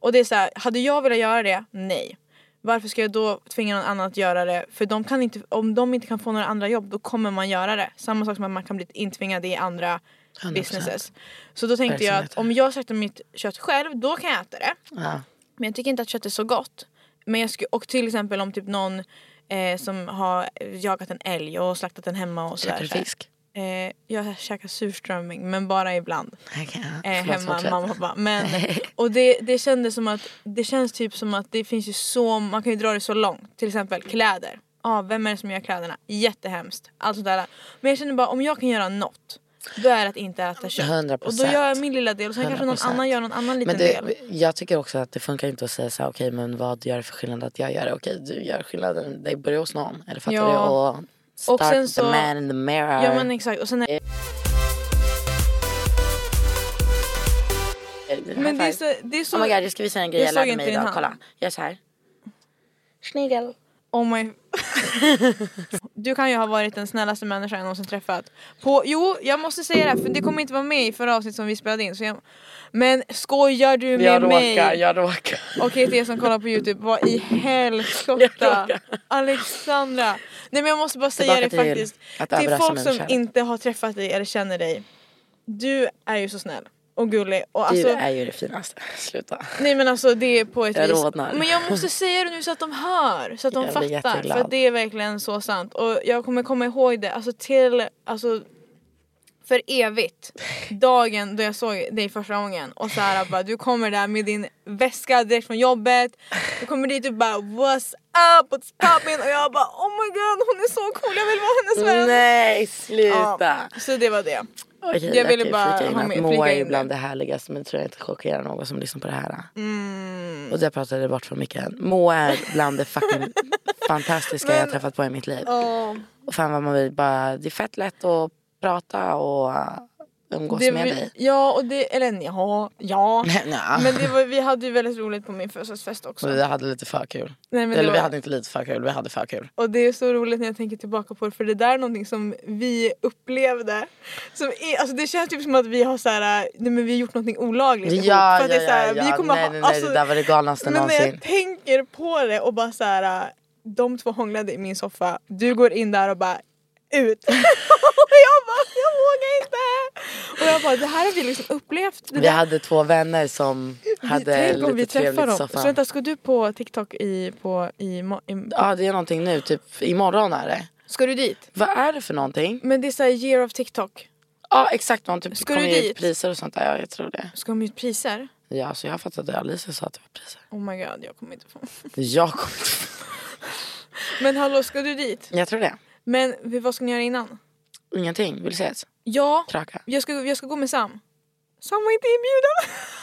Och det är så här, hade jag velat göra det? Nej. Varför ska jag då tvinga någon annan att göra det? För de kan inte, om de inte kan få några andra jobb då kommer man göra det. Samma sak som att man kan bli intvingad i andra 100%. businesses. Så då tänkte jag att Verksamheter. om jag slaktar mitt kött själv då kan jag äta det. Ja. Men jag tycker inte att kött är så gott. Men jag skulle, och till exempel om typ någon eh, som har jagat en älg och slaktat den hemma och Käkar sådär. du fisk? Eh, jag käkar surströmming men bara ibland. Okay. Eh, hemma, mamma och pappa. [LAUGHS] Men, och det, det kändes som att det känns typ som att det finns ju så, man kan ju dra det så långt. Till exempel kläder. Ah, vem är det som gör kläderna? Jättehemskt. Allt sånt där. Men jag känner bara om jag kan göra något då är det att inte äta kött. 100%. Och då gör jag min lilla del och sen kanske någon 100%. annan gör någon annan liten Men det, del. jag tycker också att det funkar inte att säga så här, okej men vad gör det för skillnad att jag gör det? Okej du gör skillnaden, det börjar hos någon. Eller fattar Ja. du? Och start sen with the så- man in the mirror. Ja men exakt. Och sen Eh, är, men det är så... Det är så Oh my god, jag ska visa en grej Jag jag, såg lärde inte mig din idag. hand. Kolla, gör så här. Snigel. Oh my... [LAUGHS] du kan ju ha varit den snällaste människan jag någonsin träffat. På, jo, jag måste säga det här för det kommer inte vara med i förra avsnittet som vi spelade in. Så jag, men skojar du med Jag mig? råkar, jag råkar. Okej till er som kollar på youtube, vad i [LAUGHS] helskotta? råkar. Alexandra! Nej men jag måste bara säga Tillbaka det till faktiskt. att Till överraska folk med som kärlek. inte har träffat dig eller känner dig. Du är ju så snäll och gullig. Och Du alltså, är ju det finaste. Sluta. Nej men alltså det är på ett Jag vis. rodnar. Men jag måste säga det nu så att de hör, så att de Jag blir fattar. För jätteglad. att det är verkligen så sant. Och jag kommer komma ihåg det alltså till, alltså för evigt. Dagen då jag såg dig första gången och så här bara du kommer där med din väska direkt från jobbet. Du kommer dit och bara what's up, what's poppin? Och jag bara oh my god hon är så cool, jag vill vara hennes vän. Nej sluta. Alltså- Ja, så det var det. Okej, Jag där kan ville bara flika in ha att med- flika Moa är in det. bland det härligaste men tror jag inte chockerar någon som lyssnar på det här. Mm. Och det pratade jag bort från micken. Moa är bland [LAUGHS] det fucking fantastiska jag har träffat på i mitt liv. Ja. Och fan vad man vill bara, det är fett lätt att prata och uh, umgås Det med vi- dig. Ja, och det, eller ja, [LAUGHS] ja. Nja. Men det var, vi hade ju väldigt roligt på min födelsedagsfest också. Och vi hade lite för kul. Nej, men det Eller vi var- hade inte lite för kul, vi hade för kul. Och det är så roligt när jag tänker tillbaka på det för det där är någonting som vi upplevde. Som är, alltså det känns typ som att vi har så här, nej men vi har gjort någonting olagligt ihop. Ja, För att det är ja, så här, ja, vi ja. kommer Nej, ha, alltså, nej, nej, det där var det galnaste men när någonsin. jag tänker på det och bara så äh, här, de två hånglade i min soffa, du går in där [LAUGHS] och bara ut. och bara jag vågar inte. Och jag bara det här har vi liksom upplevt. Det Vi där- hade två vänner som hade Tänk om vi lite träffar trevligt i dem. Så soffan. vänta ska du på TikTok i, på, i, ma- i Ja det är någonting nu, typ imorgon är det. Ska du dit? Vad är det för någonting? Men det är såhär year of TikTok. Ja exakt, någon typ Ska kommer du ge ut dit? priser och sånt där. Ja jag tror det. Ska de ge ut priser? Ja så jag fattade att Alicia sa att det var priser. Oh my god jag kommer inte få. [LAUGHS] Jag kommer inte... [LAUGHS] Men hallå ska du dit? Jag tror det. Men vi- vad ska ni göra innan? Ingenting, vill du ses? Ja, Kraka. jag ska, jag ska gå med Sam. Sam var inte inbjuden.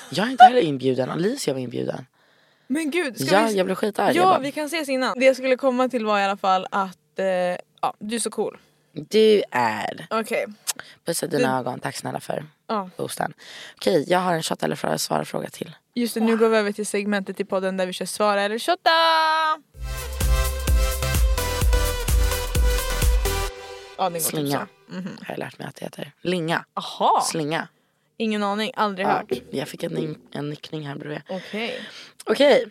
Jag är inte heller inbjuden, Alicia var inbjuden. [LAUGHS] Men gud, ska Ja vi... jag blev skitarg. ja jag vi kan ses innan. Det jag skulle komma till var i alla fall att eh, ja, du är så cool. bara, Du är... Okej. Pussa dina ögon, tack snälla för Ja. boosten. Okej jag har en shot eller fråga, svara fråga till. Just det, nu går vi över till segmentet i podden där vi kör svara eller shotta! Ja, den går Slinga. typ så. Har jag lärt mig att det heter. Linga. Aha. Slinga. Ingen aning, aldrig hört. Jag fick en, nick- en nickning här bredvid. Okej. Okej.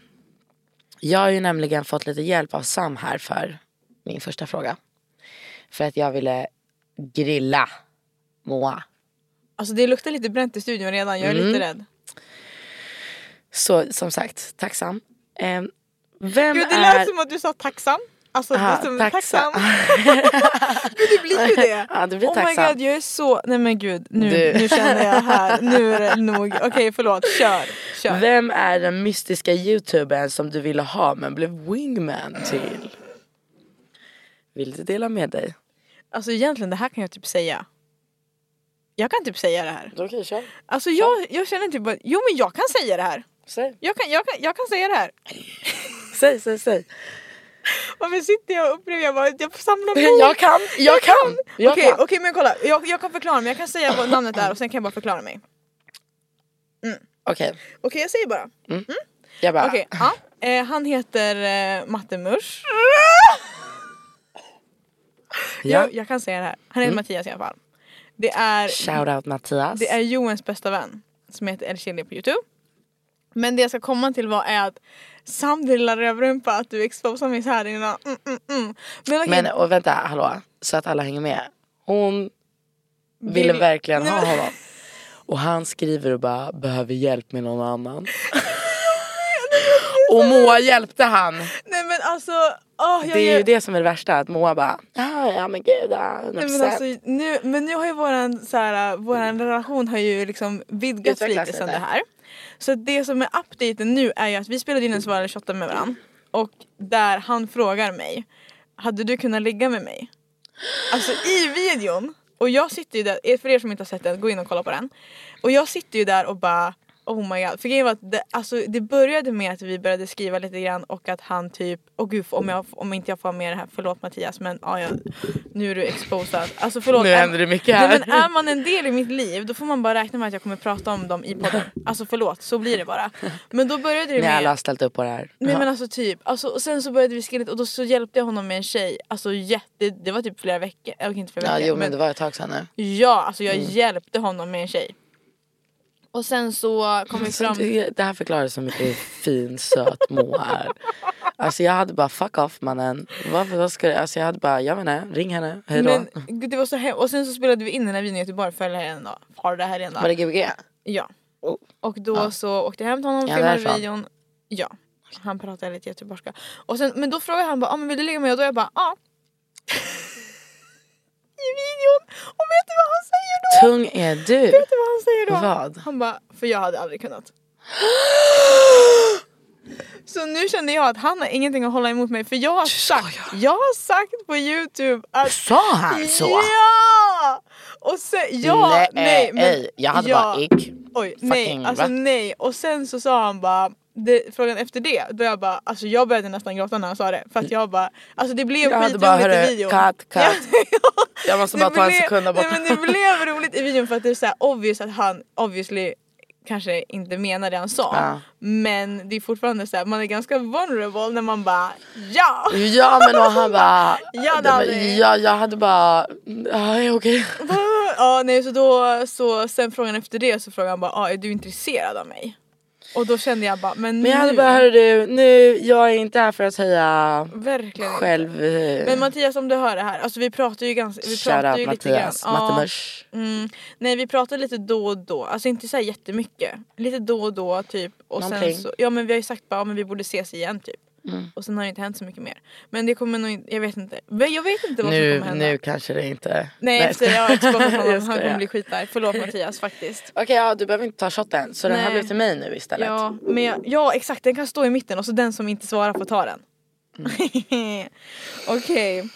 Jag har ju nämligen fått lite hjälp av Sam här för min första fråga. För att jag ville grilla Moa. Alltså det luktar lite bränt i studion redan, jag är Mm. lite rädd. Så som sagt, tack Sam. Ehm, vem Gud det lät är... Ah, som att du sa tacksam. Alltså Aha, som taxa. tacksam. [LAUGHS] [LAUGHS] gud det blir ju det. Ja, det blir oh tacksam. my god jag är så, nej men gud nu, Du. nu känner jag här, nu är [LAUGHS] det nog. Okej förlåt, kör. kör. Vem är den mystiska youtubern som du ville ha men blev wingman till? Vill du dela med dig? Alltså egentligen det här kan jag typ säga. Jag kan typ säga det här. Okej, kör. Alltså jag, jag känner typ att, jo men jag kan säga det här. Säg. Jag kan, jag kan, jag kan säga det här. Säg, säg, säg. Varför sitter jag och upplever, jag bara, jag [LAUGHS] samlar på Jag kan, jag kan, jag Okej, kan. okej, men kolla, jag, jag kan förklara mig, jag kan säga vad namnet är och sen kan jag bara förklara mig. Okej Okej, jag säger bara. jag bara. Okej, ja. eh, han heter eh, Matte Murs. Ja. Jag, jag kan säga det här, han heter Mm. Mattias i alla fall. Det är, Shoutout Mattias. det är Joens bästa vän som heter El Chili på youtube. Men det jag ska komma till var är att Sam din lilla rövrumpa att du exposar mig så här innan. Mm, mm, mm. Men okej, Men och vänta, hallå. Så att alla hänger med. Hon ville Vill- verkligen Nej, ha men- honom. Och han skriver och bara behöver hjälp med [LAUGHS] någon annan. och Moa hjälpte han. nej men alltså, åh, jag Det är gör- ju det som är det värsta att Moa bara ah, ja men gud ja, 100%. Nej, men, alltså, nu, men nu har ju våran, så här, våran relation har ju liksom vidgats Utvecklats lite sen det lite. här. Så att det som är updaten nu är ju att vi spelade in en svara eller shotta med varandra och där han frågar mig Hade du kunnat ligga med mig? Alltså i videon och jag sitter ju där, eh, för er som inte har sett den, gå in och kolla på den. Och jag sitter ju där och bara Oh my god, för grejen var att det, alltså, det började med att vi började skriva lite grann och att han typ, åh gud om, jag, om inte jag får med det här, förlåt Mattias men ja, jag, nu är du exposad. Alltså förlåt. Nu är- händer det mycket här. Nej, men är man en del i mitt liv då får man bara räkna med att jag kommer prata om dem i [LAUGHS] podden. Alltså förlåt, så blir det bara. Men då började det Ni med... alla har ställt upp på det här. Nej men alltså typ, alltså, och sen så började vi skriva lite och då så hjälpte jag honom med en tjej, alltså jätte, det var typ flera veckor, eller okej, inte flera ja, veckor jo men det var Mm. ett tag sedan nu. ja alltså jag hjälpte honom med en tjej. Och sen så kom vi Alltså, fram det, det här förklarar så mycket hur fin, söt Moa är. Alltså jag hade bara fuck off mannen. Varför, vad ska du? Alltså jag hade bara, jag vet inte, ring henne, hejdå. men gud, det var så hem- och sen så spelade vi in den här videon i Göteborg för det här en dag. Har det här en dag. Var det Gbg? Ja. Oh. Och då så åkte jag hem till honom, Ja, filmade därifrån. videon. Ja. Han pratade lite göteborgska. Och sen, men då frågade han bara, ah, men vill du ligga med mig? Och då jag bara, ja. [LAUGHS] I videon! Och vet du vad han säger då? Tung är du. Vet du vad han säger då? Vad? Han bara, för jag hade aldrig kunnat. [GASPS] Så nu kände jag att han har ingenting att hålla emot mig för jag har sagt, jag har sagt på youtube att Sa han så? Ja! Och sen, ja, nej, men, ej, eh, jag hade ja, bara ick. Oj, nej, Fucking, alltså va? nej. Och sen så sa han bara, det, frågan efter det, då jag bara, alltså jag började nästan gråta när han sa det. För att jag bara, alltså det blev Jag hade skitjobbigt bara, hörru, i videon. cut, cut. Ja, [LAUGHS] Jag måste bara det ta en blev- sekund där borta. Nej, men det [LAUGHS] blev roligt i videon för att det är så här obvious att han obviously kanske inte menar det han sa. Ja. Men det är fortfarande så här, man är ganska vulnerable när man bara ja! [LAUGHS] Ja men och han bara, Ja, det var- Danny. ja, jag hade bara, nej okej. ja nej, så då, så sen frågan efter det så frågade han bara, ah, är du intresserad av mig? Och då kände jag bara, men, Men jag hade nu, bara, hörru du, nu, jag är inte här för att höja Verkligen inte. själv... eh, Men Mattias om du hör det här, alltså vi pratar ju ganska, vi Shout pratar out ju Mattias, lite grann. Ja. Mattemörs. Mm. Nej vi pratar lite då och då, alltså inte så här jättemycket. Lite då och då typ. Och sen Någonting. Mm. så, ja men vi har ju sagt bara ja, men vi borde ses igen typ. Och sen har det inte hänt så mycket mer. Men det kommer nog inte, jag vet inte. Men jag vet inte vad som Nu, kommer typ hända. nu kanske det inte... Nej efter jag har exportat honom, han kommer skojar. bli skitarg. Förlåt Mattias faktiskt. Okej, ja, du behöver inte ta shotten. Så den här Nej. blev till mig nu istället. Ja, men jag, ja exakt den kan stå i mitten och så den som inte svarar får ta den. Mm. [LAUGHS] Okej.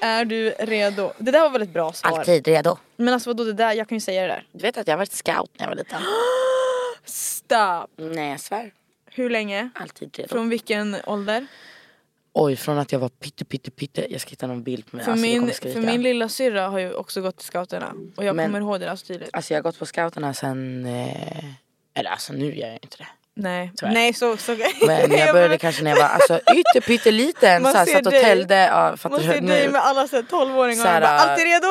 Är du redo? Det där var väldigt bra svar. Alltid redo. Men alltså vadå det där, jag kan ju säga det där. Du vet att jag har varit scout när jag [GASPS] var liten? Stop! Nej, jag svär. Hur länge? Alltid redo. Från vilken ålder? Oj, från att jag var pytte, pytte, pytte. Jag ska hitta någon bild på mig. För, alltså, jag min, kommer skrika. för min lilla syrra har ju också gått till scouterna och jag Men- kommer ihåg det där så tydligt. Alltså jag har gått på scouterna sen... Eh... Eller alltså nu gör jag [LAUGHS] inte det. Nej. tyvärr. Nej så... så Men [LAUGHS] jag började kanske när jag var alltså, ytterpytteliten. Man så här, ser satt och dig. tällde. Ja, fattar Man du? ser dig med alla så här 12-åringar och Såhär, bara, äh, alltid redo!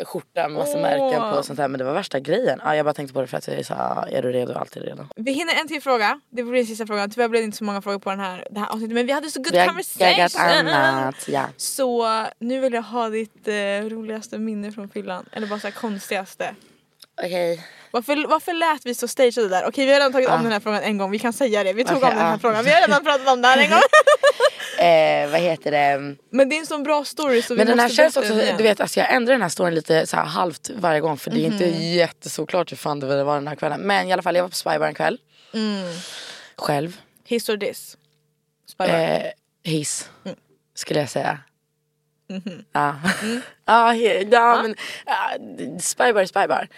eh, skjorta med massa Åh. märken på och sånt där. Men det var värsta grejen. Ja, jag bara tänkte på det för att jag sa, är du redo? Alltid redo. Vi hinner en till fråga, det blir den sista frågan. Tyvärr blev det inte så många frågor på den här, det här avsnittet men vi hade så good Vi har geggat conversation! [LAUGHS] annat. Ja. Så nu vill jag ha ditt eh, roligaste minne från fyllan, eller bara så här konstigaste. Okej. Varför, varför lät vi så stageade där? Okej vi har redan tagit om den här frågan en gång, vi kan säga det. Vi tog Ah. Okej, om ah. den här ja. frågan, vi har redan pratat om det här [LAUGHS] en gång. Eh, vad heter det? Men det är en sån bra story så Men vi den här måste känns berätta också, den igen. du vet alltså jag ändrar den här storyn lite så här halvt varje gång för det är inte Mhm. jättesolklart hur fan det var den här kvällen. Men i alla fall jag var på Spybar en kväll. Mm. Själv. Hiss or diss? Spy bar. Eh, hiss Mm. skulle jag säga. Mhm. Ja. Mm. [LAUGHS] ja, he- ja men uh, spybar är spybar.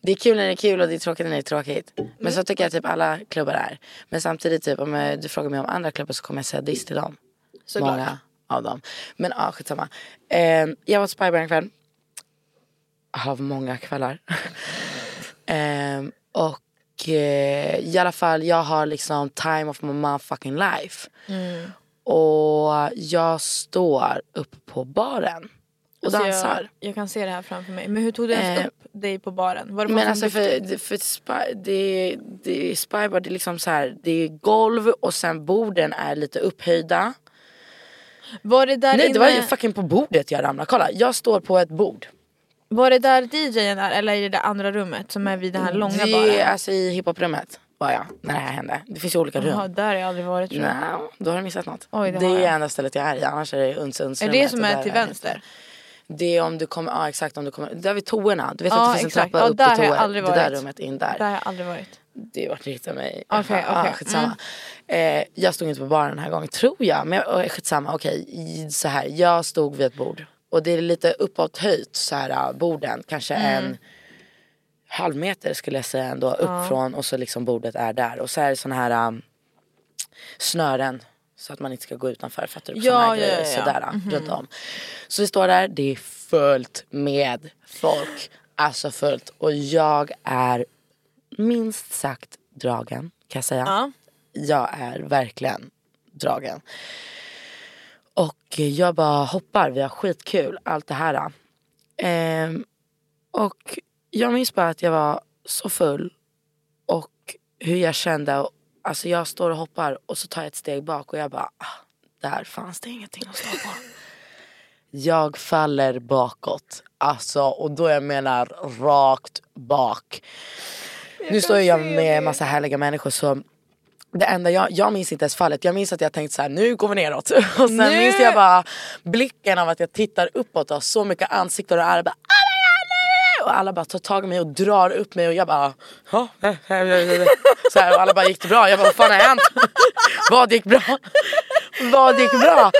Det är kul när det är kul och det är tråkigt när det är tråkigt. Men Mm. så tycker jag typ alla klubbar är. Men samtidigt typ om eh, du frågar mig om andra klubbar så kommer jag säga diss till dem. Såklart. Många av dem. Men ja, skitsamma. Eh, jag var på Spybar en kväll. Av många kvällar. [LAUGHS] Ehm, och eh, i alla fall, jag har liksom time of my motherfucking life. Mm. Och jag står uppe på baren och Alltså, dansar. Jag, jag kan se det här framför mig. Men hur tog du ens Eh, upp dig på baren? Var det Men någon alltså som för, det- för spy, det, det, är spybar det är liksom så här, det är golv och sen borden är lite upphöjda. Var det där Nej det var ju inne- fucking på bordet jag ramlade, kolla jag står på ett bord. Var det där DJn är eller är det det andra rummet som är vid den här långa det, baren? Alltså i hiphoprummet var jag när det här hände. Det finns ju olika rum. Jaha, där har jag aldrig varit tror jag. Nej, då har du missat något. Oj, det det har är jag. det enda stället jag är i, annars är det uns, uns Är det som är till vänster? Det är om du kommer, ja exakt om du kommer, där vid toorna. Du vet Ja, att det finns exakt. en trappa Ja, upp där till har jag toan. Det aldrig där varit. rummet in där. Där har jag aldrig varit. Det vart riktigt mig. Okej, Ja, okej. skitsamma. Eh, jag stod inte på baren den här gången tror jag. Men jag, eh, skitsamma, okej. i- Så här, jag stod vid ett bord. Och det är lite uppåt höjt så här ah, borden. Kanske Mm. en halv meter skulle jag säga ändå uppifrån. Och så liksom bordet är där. Och så är det såna här ah, snören. Så att man inte ska gå utanför. Fattar du? På Ja, såna här ja, grejer, ja, ja. Mhm. Sådär ah, runt om. Så vi står där. Det är fullt med folk. Alltså fullt. Och jag är minst sagt dragen kan jag säga. Ja. Jag är verkligen dragen. Och eh, jag bara hoppar, vi har skitkul, allt det här. Ehm, och jag minns bara att jag var så full och hur jag kände. Alltså jag står och hoppar och så tar jag ett steg bak och jag bara, ah, där fanns det ingenting att stå på. [LAUGHS] Jag faller bakåt. Alltså, och då jag menar rakt bak. nu står ju jag med massa härliga människor så det enda jag, jag minns inte ens fallet. Jag minns att jag tänkte så här, nu går vi neråt. [LAUGHS] Och sen Nu! minns jag bara blicken av att jag tittar uppåt och har så mycket ansikten och är bara "Ah, nej, nej, nej." och alla bara tar tag i mig och drar upp mig och jag bara "Ja, [LAUGHS] eh, eh, eh, eh." så här, och alla bara gick det bra? Jag bara vad fan har hänt? [LAUGHS] Vad gick bra? [LAUGHS] Vad gick bra?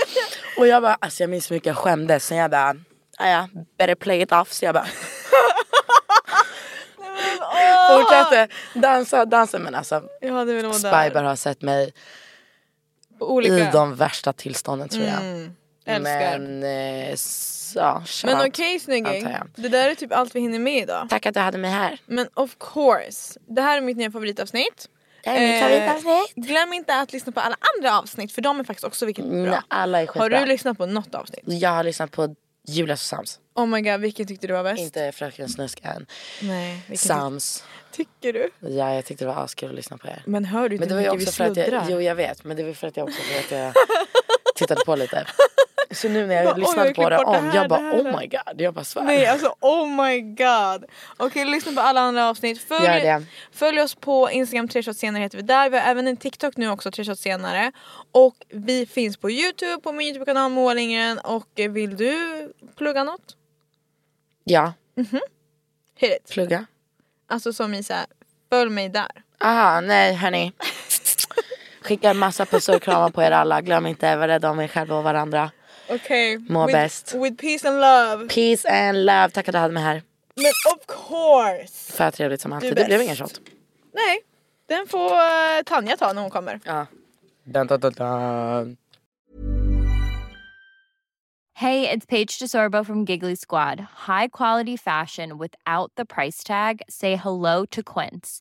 Och jag bara alltså jag minns hur mycket jag skämdes sen jag bara "Ah, ja, better play it off så jag bara [LAUGHS] Fortsatte dansa, dansa men alltså Jag hade velat vara där. Spybar har sett mig På olika. i de värsta tillstånden tror jag. Mm, Älskar. Men, Men eh, s- ja, shout out. okej snygging. antar jag. Det där är typ allt vi hinner med idag. Tack att du hade mig här. Men of course. Det här är mitt nya favoritavsnitt. Det här är mitt Eh, favoritavsnitt. Glöm inte att lyssna på alla andra avsnitt för de är faktiskt också vilket bra. Nej, alla är skitbra. Har du lyssnat på något avsnitt? Jag har lyssnat på Julia Sams. Oh my god, vilken tyckte du var bäst? Inte Fröken Snusk än. Nej, vilken Sams. tyck- tycker du? Ja, jag tyckte det var askul att lyssna på er. Men hör du inte Men det var hur mycket vi ju också för att jag, sluddrar? jo jag vet men det var för att jag också för [LAUGHS] att jag tittade på lite. Så nu när jag Bara, oj, lyssnade jag på det klipper bort det om, här, jag bara det här, det oh här." my god, jag bara svär. Nej alltså oh my god. Okej lyssna på alla andra avsnitt. Gör Följ, det. följ oss på Instagram 3 shots senare heter vi där. Vi har även en TikTok nu också 3 shots senare. Och vi finns på Youtube, på min Youtube-kanal Moa Lindgren. Och eh, vill du plugga något? Ja, Hit it. plugga. Alltså som i såhär, följ mig där. Ah nej hörni. Skickar massa pussar och kramar på er alla. Glöm inte, var rädda om er själva och varandra. Okej. Må with, bäst. With peace and love. Peace and love. Tack att du hade mig här. Men of course. För trevligt som alltid. bäst. Det blev ingen shot. Nej. Den får eh, Tanja ta när hon kommer. Ja. Dun, dun, dun, dun. Hey, it's Paige DeSorbo from Giggly Squad. High quality fashion without the price tag. Say hello to Quince.